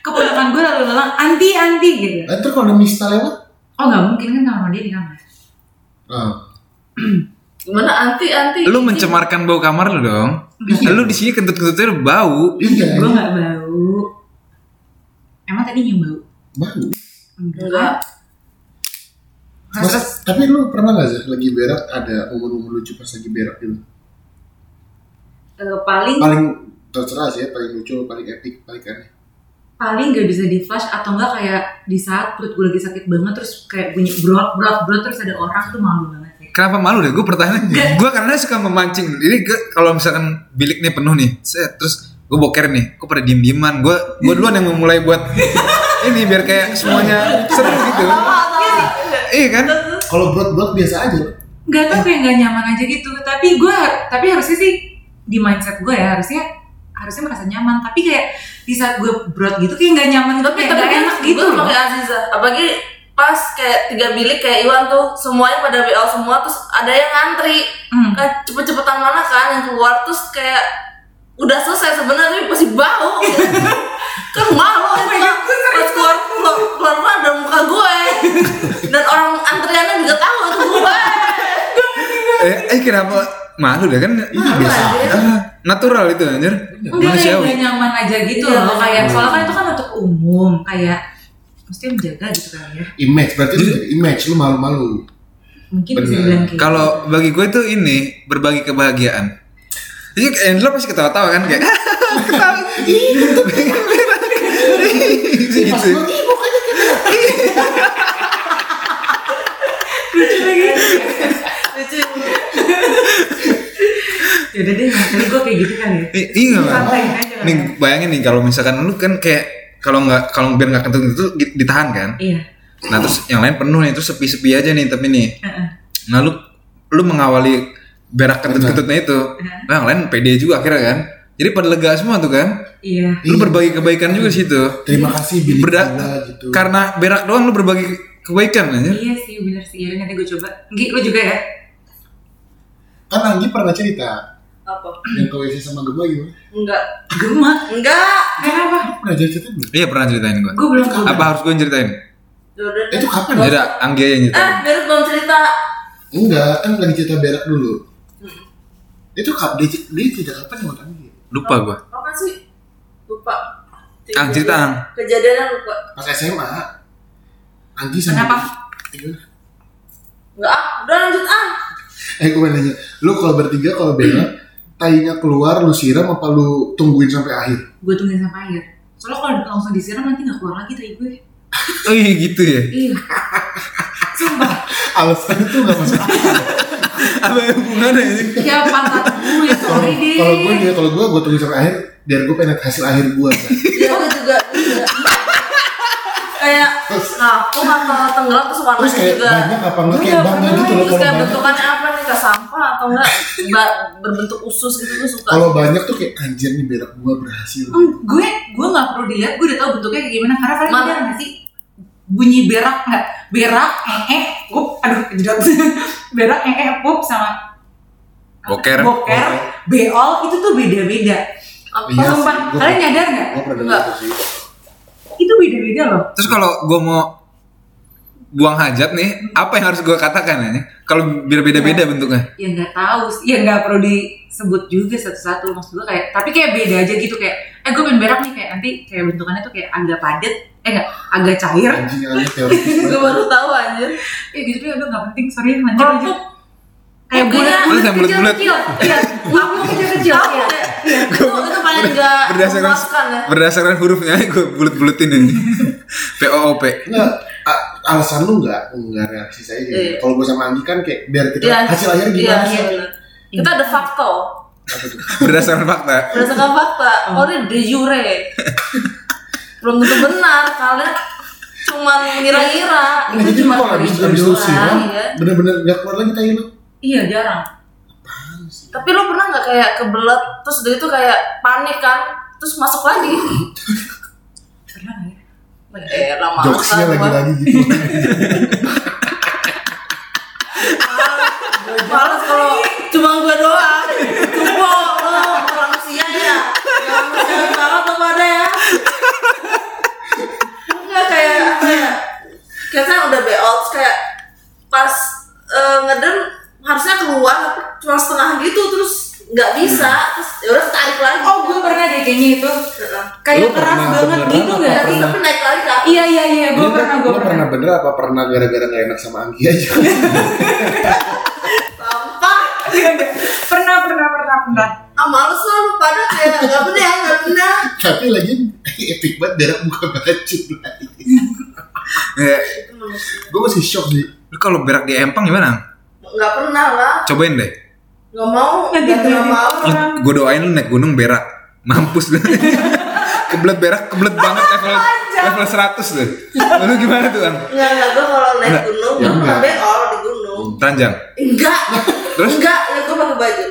Speaker 4: Keponakan gue lalu lalang anti anti gitu.
Speaker 1: Eh, ntar kalau ada mista lewat
Speaker 4: Oh nggak mungkin kan kamar dia di kamar.
Speaker 1: ah
Speaker 3: gimana anti anti
Speaker 2: Lu mencemarkan bau kamar lu dong Lu di sini kentut-kentutnya lu bau
Speaker 1: iya
Speaker 4: Gue nggak bau. Emang tadi nyium bau?
Speaker 1: bau
Speaker 3: enggak
Speaker 1: Mas, tapi lu pernah gak sih lagi berak ada momen-momen lucu pas lagi berak gitu?
Speaker 4: Eh, paling
Speaker 1: Paling terserah sih ya, paling lucu, paling epic, paling aneh.
Speaker 4: paling gak bisa di flash atau enggak kayak di saat perut gue lagi sakit banget terus kayak bunyi brot brot brot terus ada orang tuh malu banget ya. sih.
Speaker 2: Kenapa malu deh gue pertanyaan Gue karena suka memancing Jadi gue kalau misalkan bilik nih penuh nih set, Terus gue boker nih Gue pada diem-dieman Gue gue duluan yang memulai buat Ini biar kayak semuanya seru gitu Iya kan
Speaker 1: Kalau brot-brot biasa aja.
Speaker 4: Gak tau kayak gak nyaman aja gitu. Tapi gue tapi harusnya sih di mindset gue ya harusnya harusnya merasa nyaman. Tapi kayak di saat gue brot gitu kayak gak nyaman gitu.
Speaker 3: tapi
Speaker 4: kayak
Speaker 3: tapi
Speaker 4: nggak
Speaker 3: enak
Speaker 4: enak
Speaker 3: gitu
Speaker 4: gitu. loh.
Speaker 3: pakai Aziza apalagi pas kayak tiga bilik kayak Iwan tuh semuanya pada BL semua terus ada yang ngantri
Speaker 4: Hmm.
Speaker 3: kan cepet-cepetan mana kan yang keluar terus kayak udah selesai sebenarnya tapi masih bau kan malu itu kan pas keluar keluar keluar keluar dari muka gue dan orang antriannya juga tahu itu gue
Speaker 2: Eh, eh kenapa malu deh kan
Speaker 1: biasa aja.
Speaker 2: Ah, Natural itu anjir
Speaker 4: Enggak kayak
Speaker 1: ya?
Speaker 2: Manusiawi
Speaker 4: gak nyaman aja gitu
Speaker 3: Iya,
Speaker 4: loh. Kayak
Speaker 3: iya.
Speaker 4: soalnya kan itu kan untuk umum kayak mesti menjaga gitu kan ya.
Speaker 1: Image, berarti lu jadi Iya. image, lu malu-malu.
Speaker 4: Mungkin bisa
Speaker 1: Bener.
Speaker 4: bilang kayak
Speaker 2: Kalau bagi gue itu ini berbagi kebahagiaan. Jadi Angela pasti ketawa-tawa kan kayak ketawa. gitu.
Speaker 3: lucu
Speaker 4: gitu. Yaudah deh, nanti gue kayak gitu kan ya.
Speaker 2: I- Iya. Bang.
Speaker 4: Santai aja.
Speaker 2: Nih bayangin nih kalau misalkan lu kan kayak kalau nggak kalau biar nggak kentut itu ditahan kan.
Speaker 4: Iya.
Speaker 2: Nah terus yang lain penuh nih terus sepi-sepi aja nih tapi nih.
Speaker 4: Heeh.
Speaker 2: Nah lu lu mengawali berak kentut-kentutnya itu.
Speaker 4: Iya.
Speaker 2: Nah, yang lain pede juga akhirnya kan. Jadi pada lega semua tuh kan.
Speaker 4: Iya.
Speaker 2: Lu berbagi kebaikan juga di situ.
Speaker 1: Terima kasih Billy
Speaker 2: Berda-
Speaker 1: Kula gitu.
Speaker 2: Karena berak doang lu berbagi kebaikan aja.
Speaker 4: Iya sih bener sih. Yaudah nanti gue coba. Gi, lu juga ya?
Speaker 1: Kan Anggi pernah cerita
Speaker 3: apa
Speaker 1: yang ke WC sama Gemma gimana?
Speaker 3: enggak
Speaker 4: Gemak.
Speaker 3: enggak
Speaker 4: Kenapa?
Speaker 1: Pernah cerita belum?
Speaker 2: Iya pernah ceritain gue.
Speaker 4: Gue belum tahu.
Speaker 2: Apa harus gue yang ceritain?
Speaker 3: Jordan
Speaker 1: Eh, Itu kapan
Speaker 2: Ya
Speaker 1: ya?
Speaker 2: udah, Anggi aja yang
Speaker 3: eh
Speaker 2: ceritain.
Speaker 3: Berit belum cerita
Speaker 1: Enggak, kan lagi cerita berak dulu. Itu kap dia, dia cerita kapan ya sama Anggi?
Speaker 2: Lupa gue.
Speaker 3: apa sih lupa
Speaker 2: Ah, cerita, Ang.
Speaker 3: kejadiannya lupa
Speaker 1: Pas SMA. Anggi sama
Speaker 4: Kenapa?
Speaker 1: Gimana?
Speaker 3: enggak ah udah lanjut ah
Speaker 1: Eh gue mau nanya, lu kalau bertiga kalau berak tainya keluar lu siram apa lu tungguin sampai akhir?
Speaker 4: gue tungguin sampai akhir soalnya kalau langsung disiram nanti nggak keluar lagi tai gue
Speaker 2: Oh iya gitu ya.
Speaker 4: iya sumpah
Speaker 1: Alasan itu nggak masuk akal.
Speaker 2: Apa hubungannya ini?
Speaker 4: ya pantat gue
Speaker 1: Kalau
Speaker 4: sorry deh
Speaker 1: kalau gue ya kalau gue gue tungguin sampai akhir biar gue pengen lihat hasil akhir gue. kan.
Speaker 3: Iya, gue juga. gue juga. kayak nah aku kalau tenggelam terus warnanya
Speaker 1: Terus kayak
Speaker 3: juga
Speaker 1: banyak apa enggak
Speaker 4: Iya,
Speaker 1: kayak bangga
Speaker 4: bener.
Speaker 1: gitu loh
Speaker 3: terus
Speaker 1: kalau
Speaker 3: kayak
Speaker 1: banyak.
Speaker 3: bentukannya apa nih kayak sampah atau enggak ba- berbentuk usus gitu tuh suka
Speaker 1: Kalau banyak tuh kayak anjir nih berak gue berhasil.
Speaker 4: Hmm, gue gue nggak perlu dilihat gue udah tahu bentuknya kayak gimana karena kalian
Speaker 3: Mana?
Speaker 4: ada nggak sih bunyi berak nggak berak eh eh gup aduh jedak berak eh eh gup sama
Speaker 2: Boker.
Speaker 4: boker beol itu tuh beda beda
Speaker 3: apa
Speaker 1: Iya sih,
Speaker 4: sumpah
Speaker 1: gua-
Speaker 4: kalian nyadar nggak
Speaker 1: Gue pernah dengar
Speaker 3: Enggak.
Speaker 1: itu sih.
Speaker 4: itu beda beda loh
Speaker 2: Terus kalau gue mau buang hajat nih, apa yang harus gue katakan ya? Kalau beda-beda-beda bentuknya.
Speaker 4: ya nggak tahu sih. ya nggak perlu disebut juga satu satu maksud gue kayak tapi kayak beda aja gitu kayak eh gue pengen berak nih kayak nanti kayak bentukannya tuh kayak agak padat eh nggak agak cair
Speaker 1: Anjing yang aneh teoritis
Speaker 3: gue
Speaker 1: banget.
Speaker 3: baru tahu aja
Speaker 4: ya gitu deh udah nggak penting sorry lanjut aja
Speaker 3: kerupuk
Speaker 4: kayak bulat
Speaker 2: Terus yang bulat-bulat.
Speaker 4: kecil iya kamu kecil kecil iya
Speaker 3: itu itu paling enggak
Speaker 2: Berdasarkan
Speaker 3: memuaskan ya
Speaker 2: berdasarkan hurufnya gue bulet-buletin ini. P O O P.
Speaker 1: Enggak, a- alasan lu enggak, enggak reaksi saya gitu.
Speaker 3: Iya.
Speaker 1: Kalau gue sama Anggi kan kayak biar kita
Speaker 3: Iya.
Speaker 1: hasil akhir
Speaker 3: Iya,
Speaker 1: gimana sih?
Speaker 3: iya, bener. kita ada fakta
Speaker 1: Apa tuh?
Speaker 2: Berdasarkan fakta.
Speaker 3: berdasarkan fakta
Speaker 1: Hmm.
Speaker 3: oh ini de jure belum tentu benar kalian cuman ngira-ngira
Speaker 1: Nah, jadi lu kalau habis habis lu siram,
Speaker 3: iya.
Speaker 1: bener-bener nggak keluar lagi tai lu.
Speaker 4: iya jarang
Speaker 3: tapi lo pernah nggak kayak kebelet terus udah itu kayak panik kan terus masuk lagi
Speaker 4: pernah nggak
Speaker 3: eh
Speaker 4: ya
Speaker 3: lama
Speaker 1: Jokesnya lagi-lagi gitu.
Speaker 3: Males kalau cuma gue doang. Cupo lo orang sia ya. Yang manusia banget lo pada ya. Enggak kayak apa ya? Kayak saya udah beol terus kayak pas eh, ngeden harusnya keluar tapi cuma setengah gitu terus nggak bisa terus ya udah tarik lagi.
Speaker 4: oh gue pernah deh kayaknya itu kayak
Speaker 1: Lu
Speaker 4: keras
Speaker 1: pernah
Speaker 4: banget
Speaker 1: beneran apa
Speaker 4: gitu nggak
Speaker 3: Tapi
Speaker 4: sih
Speaker 1: pernah?
Speaker 3: tapi naik lagi kan?
Speaker 4: iya iya iya gue pernah gue
Speaker 1: Lu
Speaker 4: pernah
Speaker 1: pernah bener apa pernah gara-gara gak enak sama Anggi aja?
Speaker 3: Sampah.
Speaker 4: Iya, iya. pernah pernah pernah pernah
Speaker 3: Ah males lo lu pada kayak nggak benar nggak benar.
Speaker 1: Tapi lagi epic banget berak buka baju lagi.
Speaker 2: Ya.
Speaker 1: Gue masih shock sih.
Speaker 2: Lu kalau berak di empang gimana?
Speaker 3: Nggak pernah lah.
Speaker 2: Cobain deh.
Speaker 3: Nggak mau.
Speaker 4: Nggak gitu.
Speaker 3: Nggak mau.
Speaker 2: Gue doain lu naik gunung berak. Mampus lu. kebelet berak, kebelet banget level level 100 tuh. Lalu gimana tuh, Ang?
Speaker 3: Enggak, enggak, gue kalau naik gunung,
Speaker 1: Ya,
Speaker 3: gue pernah
Speaker 1: enggak.
Speaker 3: beol di gunung
Speaker 2: Teranjang.
Speaker 3: Enggak,
Speaker 2: Terus?
Speaker 3: enggak, ya gue pakai baju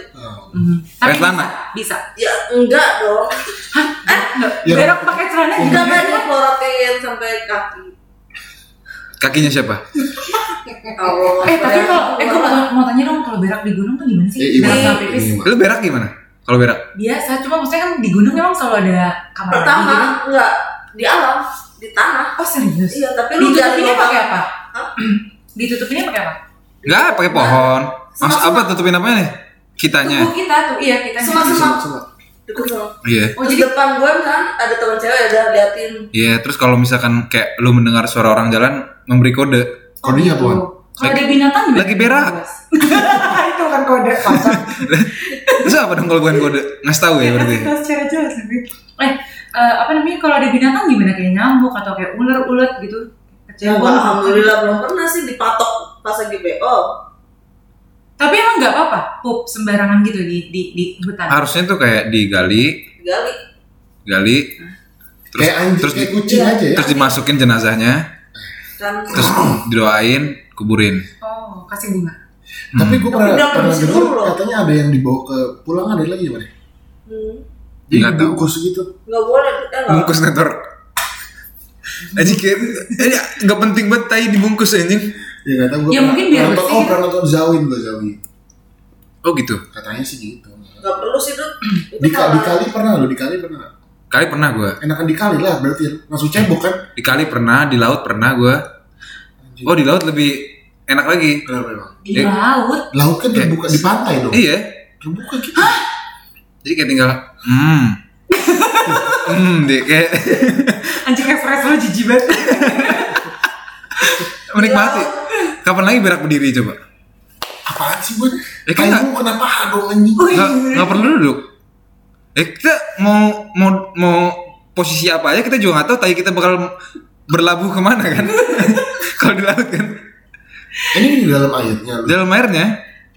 Speaker 4: Mhm.
Speaker 2: Pakai
Speaker 4: tapi
Speaker 2: celana?
Speaker 4: bisa
Speaker 3: Ya enggak dong,
Speaker 4: bisa Nggak.
Speaker 1: Iya.
Speaker 4: berak pakai celana juga
Speaker 3: enggak kan
Speaker 4: nggak?
Speaker 3: gue pelorotin sampai kaki
Speaker 2: Kakinya siapa?
Speaker 3: Allah,
Speaker 4: eh tapi
Speaker 3: kayak
Speaker 4: kalau eh gue
Speaker 3: gua-
Speaker 4: mau, mau tanya dong kalau berak di gunung tuh gimana sih
Speaker 3: Iya,
Speaker 1: Ya,
Speaker 4: Berak
Speaker 1: Iwan,
Speaker 4: sama pipis
Speaker 1: Iwan.
Speaker 2: Lu berak gimana? Kalau berak?
Speaker 4: biasa cuma maksudnya kan di gunung emang selalu ada kamar mandi
Speaker 3: Pertama,
Speaker 4: gitu.
Speaker 3: enggak, di alam, di tanah
Speaker 4: oh serius
Speaker 3: Iya, tapi lu jangan
Speaker 4: ditutupinnya
Speaker 3: lupa
Speaker 4: pakai apa
Speaker 3: Hah?
Speaker 4: ditutupinnya pakai apa
Speaker 2: Enggak, pakai pohon. Mas
Speaker 3: Semak-semak.
Speaker 2: apa tutupin apanya nih?
Speaker 4: tubuh
Speaker 2: Kitanya.
Speaker 4: kita tuh iya kita
Speaker 3: Semak- semak.
Speaker 1: Sama-sama.
Speaker 3: Deket sama
Speaker 2: Iya.
Speaker 4: oh
Speaker 3: Terus
Speaker 4: jadi
Speaker 3: depan gue kan ada teman cewek udah liatin
Speaker 2: Iya, terus kalau misalkan kayak lu mendengar suara orang jalan memberi kode. ya,
Speaker 1: Kodenya apa? Wan?
Speaker 3: Iya.
Speaker 4: Kalau ada binatang gimana?
Speaker 2: Lagi berak.
Speaker 4: itu bukan kode kocak.
Speaker 2: Terus apa dong kalau bukan kode? Ngasih tahu ya berarti.
Speaker 4: Kita secara jelas lebih. Eh, eh, apa namanya kalau ada binatang gimana kayak nyamuk atau kayak ular ulet gitu?
Speaker 3: Ya,
Speaker 4: Kecewa.
Speaker 3: gua alhamdulillah belum pernah sih dipatok pas lagi beol
Speaker 4: Tapi emang nggak apa-apa pup sembarangan gitu di di di hutan.
Speaker 2: Harusnya tuh kayak digali,
Speaker 3: Gali,
Speaker 2: gali, terus
Speaker 1: Kayak anjing,
Speaker 2: terus di-
Speaker 1: kayak kucing
Speaker 3: Iya.
Speaker 1: aja ya.
Speaker 2: terus dimasukin jenazahnya,
Speaker 3: kan
Speaker 2: terus didoain, kuburin.
Speaker 4: Oh, kasih bunga.
Speaker 2: Hmm.
Speaker 1: Tapi gue pernah
Speaker 3: udah
Speaker 1: pernah
Speaker 3: bersihin
Speaker 1: dengar
Speaker 3: dulu loh.
Speaker 1: katanya ada yang dibawa ke pulang ada lagi gimana?
Speaker 3: hmm,
Speaker 1: Jadi
Speaker 2: Nggak tahu.
Speaker 1: dibungkus gitu.
Speaker 3: Nggak boleh, eh nggak
Speaker 2: Bungkus netor. Anjing kayak, ini nggak penting banget tai dibungkus anjing.
Speaker 1: Ya nggak tahu gue.
Speaker 4: Ya, mungkin biar
Speaker 1: nonton,
Speaker 4: bersih
Speaker 1: oh
Speaker 4: gitu.
Speaker 1: pernah nonton Zawin gue Zawin.
Speaker 2: Oh gitu.
Speaker 1: Katanya sih gitu.
Speaker 3: Nggak perlu sih, Dut Itu
Speaker 1: Dika,
Speaker 3: salah.
Speaker 1: dikali pernah lo dikali pernah.
Speaker 2: Kali pernah gue.
Speaker 1: Enakan dikali lah berarti langsung cebok kan?
Speaker 2: Di kali pernah, di laut pernah gue. Oh di laut lebih enak lagi.
Speaker 1: Kenapa emang?
Speaker 4: Di
Speaker 2: Eh.
Speaker 4: laut.
Speaker 1: Laut kan
Speaker 2: Ya.
Speaker 1: terbuka di pantai dong.
Speaker 2: Iya.
Speaker 1: Terbuka gitu.
Speaker 2: Jadi kayak tinggal, hmm, hmm, deh kayak
Speaker 4: Anjing Everest lu jijik banget.
Speaker 2: menikmati. Kapan lagi berak berdiri coba?
Speaker 1: Apaan sih buat
Speaker 2: Eh, kan
Speaker 1: kamu kenapa hadong anjing
Speaker 4: Wih.
Speaker 2: Nggak nggak perlu duduk. Eh kita mau mau mau posisi apa aja kita juga nggak tahu. Tapi kita bakal berlabuh kemana kan? Kalau di laut kan
Speaker 1: ini di dalam ayatnya lu
Speaker 2: dalam airnya.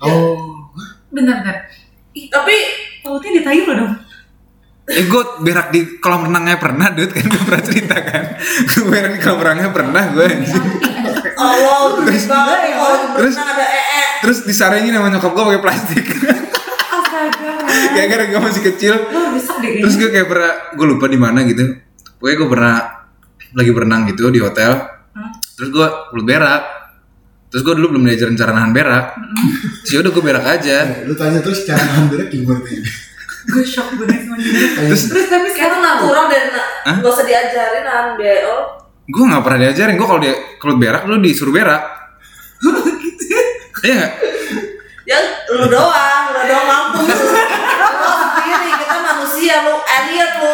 Speaker 1: oh
Speaker 4: Bentar, bentar. Ih,
Speaker 3: Tapi
Speaker 4: lautnya di Tayo loh dong.
Speaker 2: Eh gue berak di kolam renangnya pernah, dude kan gue pernah cerita kan. Gue berak di kolam renangnya pernah gue.
Speaker 3: Allah terus banget ya kalau
Speaker 2: Terus-
Speaker 3: berenang ada ee.
Speaker 2: Terus disaringin sama nyokap gue pakai plastik.
Speaker 4: Astaga.
Speaker 2: Gara-gara gue masih kecil.
Speaker 4: Lo besok deh
Speaker 2: Terus
Speaker 4: kayaknya.
Speaker 2: gue kayak pernah, gue lupa di mana gitu. Pokoknya gue pernah lagi berenang gitu di hotel.
Speaker 4: Hmm.
Speaker 2: Terus gue mulut berak. Terus gue dulu belum diajarin cara nahan berak. Terus yaudah gue berak aja.
Speaker 1: Eh, lu tanya terus cara ngambilnya gimana ini
Speaker 4: Gue shock banget sama dia.
Speaker 1: Terus-
Speaker 4: Terus tapi
Speaker 3: Itu
Speaker 4: sekarang
Speaker 3: natural dan
Speaker 2: Hah?
Speaker 3: gak usah diajarin nahan BO.
Speaker 2: Gue nggak pernah diajarin. Gue kalau dia kalau berak lu disuruh berak. Iya nggak?
Speaker 3: Ya lu doang, lu doang mampu. Lu sendiri kita manusia lu alien lu.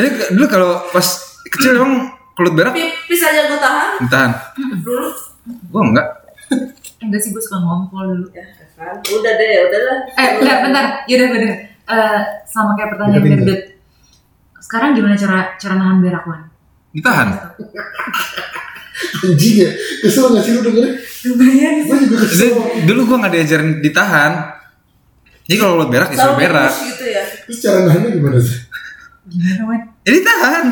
Speaker 2: Jadi ke- dulu kalau pas kecil emang kelut berak
Speaker 3: Pipis aja gue tahan
Speaker 2: ditahan.
Speaker 3: dulu.
Speaker 2: Gue enggak.
Speaker 4: enggak sih gue suka ngompol dulu.
Speaker 3: Ya kan, udah deh, udah lah.
Speaker 4: Eh, enggak, bentar. Yaudah, bener. Eh, sama kayak pertanyaan
Speaker 1: Bentar, bentar.
Speaker 4: Berdut. Sekarang gimana cara cara nahan berak, Wan?
Speaker 2: Ditahan.
Speaker 1: anjing ya kesel nggak sih lu dengerin
Speaker 4: Lumayan
Speaker 1: gue juga
Speaker 2: Jadi,
Speaker 1: kesel
Speaker 2: dulu gue nggak diajarin ditahan. Jadi kalau kelut berak disuruh
Speaker 3: Selalu
Speaker 2: berak.
Speaker 3: push gitu ya.
Speaker 1: terus cara nahannya gimana sih
Speaker 4: Gimana, Wan?
Speaker 2: Jadi Ya ditahan.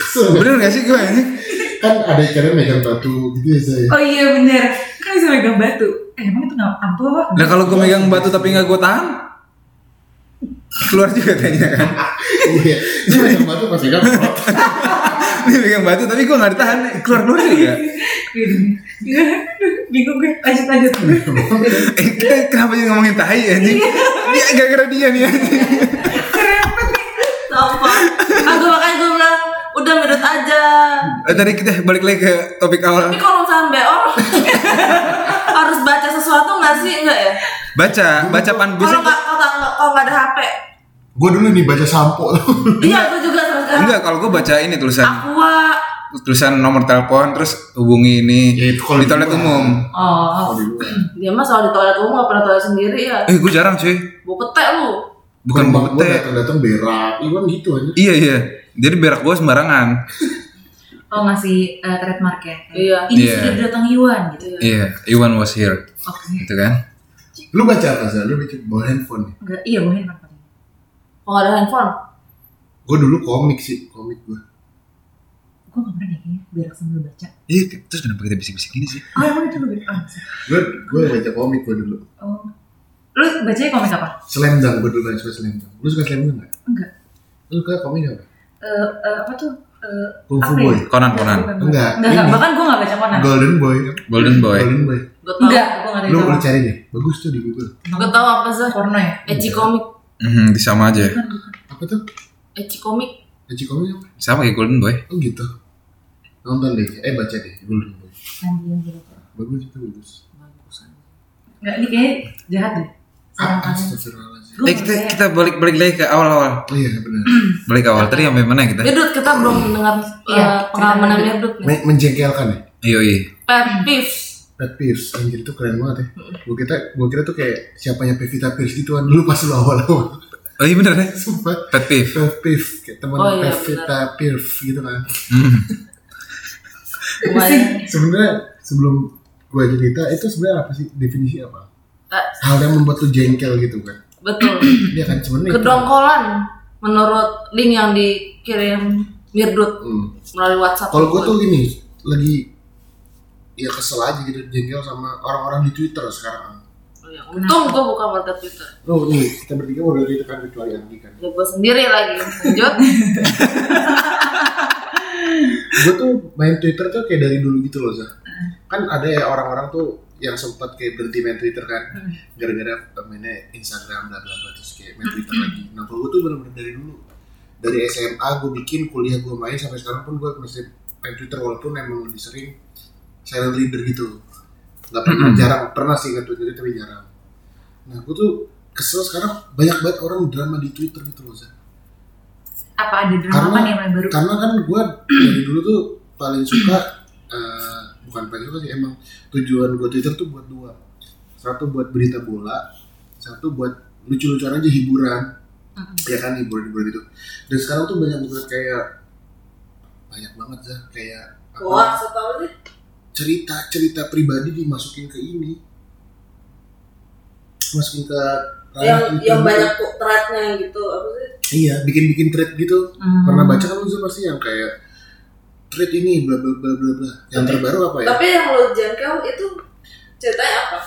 Speaker 1: kesel nggak?
Speaker 2: Bener gak sih gue ini?
Speaker 1: kan ada ikannya megang batu gitu ya saya
Speaker 4: Oh iya, bener. Kan bisa megang batu. Eh, emang itu nggak ampuh apa?
Speaker 2: Nah kalau gue megang batu tapi nggak gue tahan, keluar juga tanya kan.
Speaker 1: iya dia megang batu pas megang perut.
Speaker 2: Dia megang batu tapi gue nggak ditahan, keluar keluar juga.
Speaker 4: Iya, bener. Aduh, Bingung gue. Lanjut, lanjut.
Speaker 2: Eh, kita kenapa jadi ngomongin tai anjing?
Speaker 3: Iya.
Speaker 2: Dia gara-gara dia nih anjing.
Speaker 4: Repot nih.
Speaker 3: Sampah. Aku makanya gue bilang udah medot aja.
Speaker 2: Eh, Tadi kita balik lagi ke topik awal.
Speaker 3: Tapi kalau misalnya BO harus baca sesuatu nggak sih enggak ya?
Speaker 2: Baca, baca pan
Speaker 3: Kalau
Speaker 2: biasanya-
Speaker 3: nggak kalau nggak kalau nggak ada HP.
Speaker 1: gue dulu nih baca sampo
Speaker 3: Iya, gue juga sama sekarang.
Speaker 2: Enggak, kalau gue baca ini tulisan
Speaker 3: Aqua.
Speaker 2: tulisan nomor telepon terus hubungi ini
Speaker 1: Ya, itu kalau
Speaker 2: di toilet
Speaker 1: di luar.
Speaker 2: umum.
Speaker 4: Oh,
Speaker 1: Kalau di luar.
Speaker 3: Dia mah soal di toilet umum nggak pernah toilet sendiri ya.
Speaker 2: Eh, gue jarang cuy.
Speaker 3: Gue petek lu.
Speaker 2: Bukan
Speaker 1: Bang, gua
Speaker 2: bukti.
Speaker 1: datang-datang berak Iwan gitu aja
Speaker 2: Iya, iya. Jadi berak gue sembarangan.
Speaker 4: oh ngasih eh, trademark ya?
Speaker 3: Iya.
Speaker 4: Ini
Speaker 2: Iya.
Speaker 4: sudah datang Iwan gitu.
Speaker 2: Iya, Iwan was here.
Speaker 4: Oke.
Speaker 2: Gitu kan?
Speaker 1: lu baca apa sih lu bikin bawa handphone nih
Speaker 4: Enggak, iya, gue handphone.
Speaker 3: Kalau nggak ada handphone.
Speaker 1: gue dulu komik sih komik gue
Speaker 4: Gue nggak pernah deh kayaknya berak sambil baca.
Speaker 2: Iya, terus kenapa kita bisik-bisik gini sih?
Speaker 4: Oh, emang itu gue berak.
Speaker 1: gue gue baca komik gue dulu
Speaker 4: Oh. Lu bacanya komik apa?
Speaker 1: slam dunk gue dulu yang suka slam dunk lu suka slam dunk nggak
Speaker 4: Enggak.
Speaker 1: lu suka komik apa
Speaker 4: Eh eh, apa tuh? Eh,
Speaker 1: Kung Fu
Speaker 4: apa
Speaker 1: Boy.
Speaker 2: Conan,
Speaker 4: Enggak,
Speaker 2: Conan.
Speaker 4: bukan.
Speaker 1: Enggak,
Speaker 4: Enggak,
Speaker 1: ini.
Speaker 4: Bahkan gue nggak baca Conan.
Speaker 1: golden boy kan?
Speaker 2: Golden Boy.
Speaker 1: golden boy
Speaker 3: Gue tau.
Speaker 4: Enggak, gue nggak
Speaker 1: lu lu
Speaker 4: baca.
Speaker 1: cari deh bagus tuh di google
Speaker 3: Gue tau apa sih?
Speaker 4: Porno ya?
Speaker 3: Eci komik.
Speaker 2: Mhm, di sama aja.
Speaker 1: apa tuh
Speaker 3: Eci komik.
Speaker 1: Eci komik apa
Speaker 2: Sama kayak Golden Boy.
Speaker 1: oh gitu nonton deh eh baca deh golden boy
Speaker 4: Anjing gitu.
Speaker 1: bagus itu bagus
Speaker 4: Enggak, ini kayaknya jahat deh. Sama
Speaker 3: Kan.
Speaker 1: ah,
Speaker 4: kalian.
Speaker 1: astagfirullahaladzim
Speaker 2: Eh,
Speaker 4: Gua nggak
Speaker 2: kita
Speaker 4: percaya.
Speaker 2: kita balik balik lagi ke awal-awal.
Speaker 1: oh iya benar
Speaker 2: Balik awal tadi sampai mana kita?
Speaker 3: Ya Dut, kita belum mendengar
Speaker 4: Iya,
Speaker 3: eh, pengalaman
Speaker 4: cerita
Speaker 3: yang Dut nih.
Speaker 1: Men- menjengkelkan ya
Speaker 2: Iya, iya.
Speaker 3: Pet peeves.
Speaker 1: Brad Pierce anjir itu keren banget ya gua kira gua kira tuh kayak siapanya Pevita Pierce gitu kan dulu pas lu awal-awal
Speaker 2: Oh iya bener ya.
Speaker 1: sumpah
Speaker 2: Pet peeve.
Speaker 1: Brad Pierce kayak teman
Speaker 3: Oh, iya,
Speaker 1: Pevita Pierce gitu kan
Speaker 2: Mhm.
Speaker 3: Mulai.
Speaker 1: sebenarnya sebelum gua cerita itu sebenarnya apa sih definisi apa
Speaker 3: Eh,
Speaker 1: hal yang membuat lu jengkel gitu kan
Speaker 3: Betul.
Speaker 1: dia kan sebenarnya itu.
Speaker 3: kedongkolan menurut link yang dikirim Mirdut
Speaker 1: Hmm.
Speaker 3: melalui WhatsApp.
Speaker 1: kalau gua tuh gini lagi ya kesel aja gitu jengkel sama orang-orang di Twitter sekarang
Speaker 3: Oh ya, untung gua buka market Twitter.
Speaker 1: lu nih kita bertiga udah gitu kan kecuali Andi kan
Speaker 3: Ya gua sendiri lagi. Lanjut.
Speaker 1: gue tuh main Twitter tuh kayak dari dulu gitu loh Zah. kan ada ya orang-orang tuh yang sempat kayak berhenti main Twitter kan gara-gara mainnya Instagram bla bla bla terus kayak main Twitter lagi nah kalau gue tuh bener-bener dari dulu dari SMA gue bikin kuliah gue main sampai sekarang pun gue masih main Twitter walaupun emang lebih sering silent reader gitu nggak pernah jarang pernah sih nge Twitter tapi jarang nah gue tuh kesel sekarang banyak banget orang drama di Twitter gitu loh Zah
Speaker 4: Apa ada drama
Speaker 1: Karena-
Speaker 4: apa nih yang paling baru?
Speaker 1: karena kan gue dari dulu tuh paling suka eh, bukan bukan pengen sih emang tujuan gue Twitter tuh buat dua satu buat berita bola satu buat lucu-lucuan aja hiburan ya kan hiburan-hiburan itu dan sekarang tuh banyak banget kayak banyak banget ya kayak apa,
Speaker 3: Wah, setahun sih.
Speaker 1: cerita-cerita pribadi dimasukin ke ini masukin ke
Speaker 3: Yang
Speaker 1: ranah Twitter
Speaker 3: yang
Speaker 1: gitu.
Speaker 3: banyak kok threadnya gitu. Apa sih?
Speaker 1: iya bikin-bikin thread gitu
Speaker 4: Hmm.
Speaker 1: pernah baca kan lu Zul, pasti yang kayak thread ini bla bla bla bla bla yang terbaru apa ya
Speaker 3: Tapi yang lo jangkau itu ceritanya apa?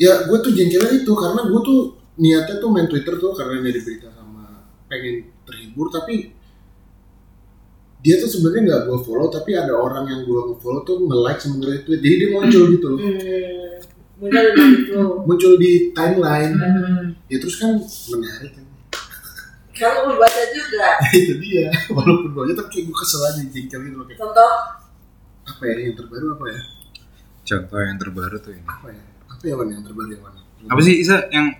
Speaker 1: ya gue tuh jengkelnya itu karena gue tuh niatnya tuh main Twitter tuh karena nyari berita sama pengen terhibur tapi dia tuh sebenarnya nggak gue follow tapi ada orang yang gue follow tuh nge like sama nge retweet jadi dia muncul gitu loh
Speaker 3: Hmm, mungkin lebih itu.
Speaker 1: muncul di timeline ya terus kan menarik kan
Speaker 3: Kan lo baca juga.
Speaker 1: itu dia walaupun gue aja tapi kayak gue kesel aja jengkel gitu loh kayak
Speaker 3: Contoh
Speaker 1: apa ya yang terbaru apa ya
Speaker 2: Contoh yang terbaru tuh ini.
Speaker 1: apa ya apa ya Wan, yang terbaru yang mana
Speaker 2: Apa sih Isa yang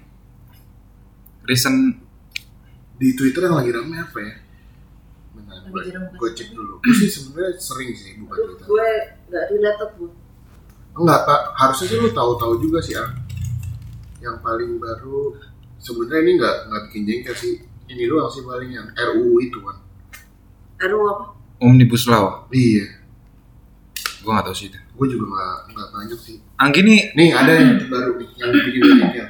Speaker 2: recent
Speaker 1: di Twitter yang lagi rame apa ya? Bentar,
Speaker 4: Lagi
Speaker 1: gue,
Speaker 4: jarang buka
Speaker 1: gue cek dulu. Gue sih sebenarnya sering sih buka
Speaker 3: Aduh,
Speaker 1: Twitter.
Speaker 3: gue nggak related bu.
Speaker 1: Enggak, Pak. Harusnya sih lu tahu-tahu juga sih, Ang. Yang paling baru sebenarnya ini enggak enggak bikin jengkel sih. Ini doang sih paling yang RUU itu kan.
Speaker 3: Aduh apa?
Speaker 2: Omnibus Law?
Speaker 1: Iya,
Speaker 2: Gue gak tau sih itu.
Speaker 1: gue juga enggak enggak banyak sih.
Speaker 2: Angki nih
Speaker 1: Nih, ada yang baru nih yang bikin gue jengkel.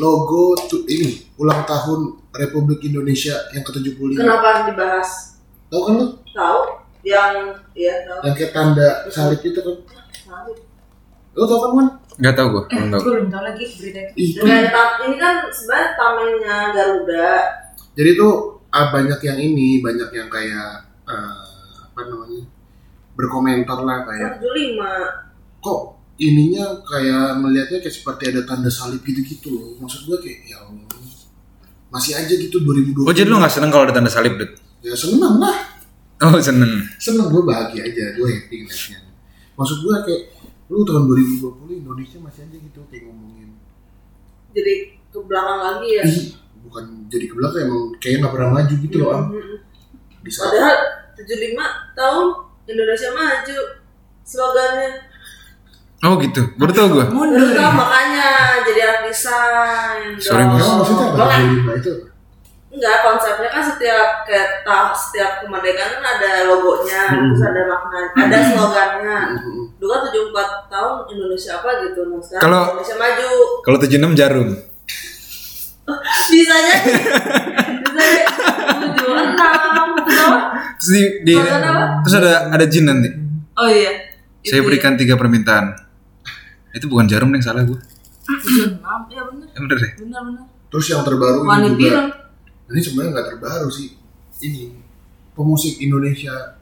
Speaker 1: Logo tuh ini ulang tahun Republik Indonesia yang ke-75.
Speaker 3: Kenapa harus dibahas?
Speaker 1: Tahu kan lu?
Speaker 3: Tahu? Yang ya tahu. Nah,
Speaker 1: Yang kayak tanda salib itu kan.
Speaker 3: Tahu.
Speaker 1: Lu tahu kan, Wan?
Speaker 2: gak tau gue,
Speaker 4: eh
Speaker 2: belum
Speaker 4: gue
Speaker 2: tau.
Speaker 4: belum tahu lagi berita itu
Speaker 1: Itu
Speaker 3: Dengan tam- ini kan sebenarnya tamennya Garuda.
Speaker 1: jadi tuh ah, banyak yang ini banyak yang kayak eh, apa namanya berkomentar lah
Speaker 3: Iya.
Speaker 1: kayak
Speaker 3: 75
Speaker 1: kok ininya kayak melihatnya kayak seperti ada tanda salib gitu-gitu loh maksud gue kayak ya Allah masih aja gitu 2020
Speaker 2: Oh jadi lu gak seneng kalau ada tanda salib, Dut?
Speaker 1: ya seneng lah
Speaker 2: Oh seneng.
Speaker 1: seneng gue bahagia aja gue happy ngeliatnya maksud gue kayak lu tahun 2020 Indonesia masih aja gitu kayak ngomongin
Speaker 3: jadi ke belakang lagi ya.
Speaker 1: ih bukan jadi ke belakang emang kayaknya nggak pernah maju gitu
Speaker 3: Iya.
Speaker 1: loh Am.
Speaker 3: Mm-mm.
Speaker 1: di saat
Speaker 3: Hmm, Padahal 75 tahun Indonesia maju slogannya.
Speaker 2: Oh gitu, baru tau gue.
Speaker 4: mundur
Speaker 3: Terus
Speaker 4: ya.
Speaker 3: makanya jadi anak desain.
Speaker 2: Sorry,
Speaker 3: dong.
Speaker 2: Mas.
Speaker 1: Emang maksudnya apa?
Speaker 3: Makanya-
Speaker 1: 75 itu apa?
Speaker 3: Enggak, konsepnya kan setiap kayak ta- setiap kemerdekaan kan ada logonya,
Speaker 1: Mm.
Speaker 3: terus ada makna, ada slogannya.
Speaker 1: Mm-mm.
Speaker 3: Dulu kan 74 tahun Indonesia apa gitu, nah sekarang
Speaker 2: Kalau-
Speaker 3: Indonesia maju.
Speaker 2: Kalau 76 jarum.
Speaker 3: Bisanya bisanya 76 tahun.
Speaker 2: Terus di, di-
Speaker 3: Makan apa?
Speaker 2: terus ada ada jin nanti.
Speaker 3: Oh iya.
Speaker 2: Saya
Speaker 3: Itu
Speaker 2: berikan tiga permintaan. Itu bukan jarum yang salah gue.
Speaker 3: ya. 76, ya bener,
Speaker 2: Ya bener deh.
Speaker 3: bener, bener.
Speaker 1: Terus yang terbaru ini
Speaker 3: Wanita
Speaker 1: juga, ini sebenarnya nggak terbaru sih. Ini pemusik Indonesia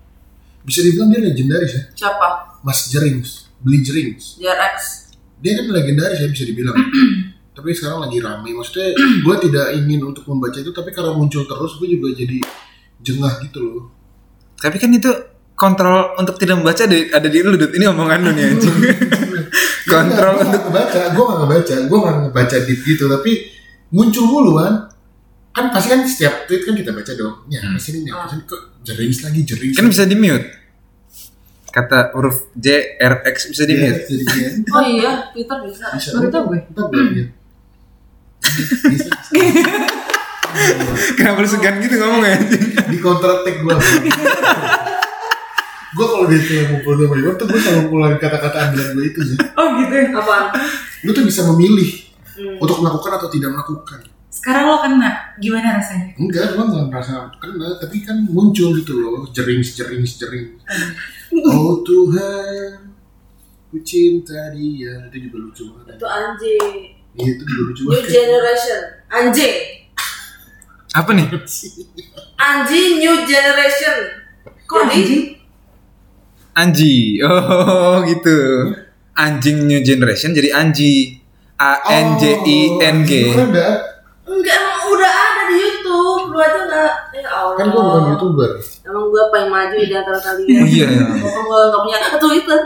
Speaker 1: bisa dibilang dia legendaris ya,
Speaker 3: siapa?
Speaker 1: Mas Jerings, Beli Jerings.
Speaker 3: JRX.
Speaker 1: Dia kan legendaris ya bisa dibilang. tapi sekarang lagi rame. Maksudnya gue tidak ingin untuk membaca itu, tapi karena muncul terus gue juga jadi jengah gitu loh.
Speaker 2: Tapi kan itu kontrol untuk tidak membaca ada, ada di lu, Dut. Ini omongan lu nih anjing. kontrol
Speaker 1: Gua
Speaker 2: untuk
Speaker 1: nggak ngebaca, gue nggak ngebaca, gue nggak ngebaca deep gitu, tapi muncul mulu kan. Kan pasti kan setiap tweet kan kita baca dong. Ya,
Speaker 2: Hmm.
Speaker 1: kesini nih, kesini kok jerings lagi, jerings.
Speaker 2: kan bisa di mute. Kata huruf J R X bisa di
Speaker 1: Iya,
Speaker 2: mute.
Speaker 1: jadi dia.
Speaker 3: Oh iya, Twitter bisa.
Speaker 1: Bisa.
Speaker 4: Baru tau gue.
Speaker 1: Ntar gue liat. Bisa.
Speaker 2: Kenapa lu segan gitu ngomongnya anjing?
Speaker 1: Di counter attack gue. gue kalau dia tuh ngumpul sama Iwan tuh gue selalu keluarin kata-kata andalan gue itu sih.
Speaker 4: Oh gitu ya.
Speaker 3: Apaan?
Speaker 1: Lu tuh bisa memilih
Speaker 3: Hmm.
Speaker 1: untuk melakukan atau tidak melakukan.
Speaker 4: Sekarang lo kena, gimana rasanya?
Speaker 1: Enggak, gue nggak merasa kena, tapi kan muncul gitu loh, jering, jering, jering.
Speaker 4: Hmm.
Speaker 1: Oh Tuhan, ku cinta dia. Itu juga lucu banget.
Speaker 3: Itu anjing.
Speaker 1: Iya, itu juga lucu
Speaker 3: New
Speaker 1: banget.
Speaker 3: generation. Anjing.
Speaker 2: Apa nih?
Speaker 3: Anjing new generation.
Speaker 1: Ya,
Speaker 3: Kok anjing?
Speaker 2: Anji. Oh gitu. Anjing new generation jadi Anji. A N J I N
Speaker 1: Oh,
Speaker 2: G.
Speaker 1: Kan ada.
Speaker 3: Enggak, emang udah ada di YouTube. Lu aja enggak. Ya Allah.
Speaker 1: Kan gue bukan youtuber.
Speaker 3: Emang gue paling maju ya di antara kalian.
Speaker 2: Oh iya.
Speaker 3: Pokoknya gue enggak punya Twitter.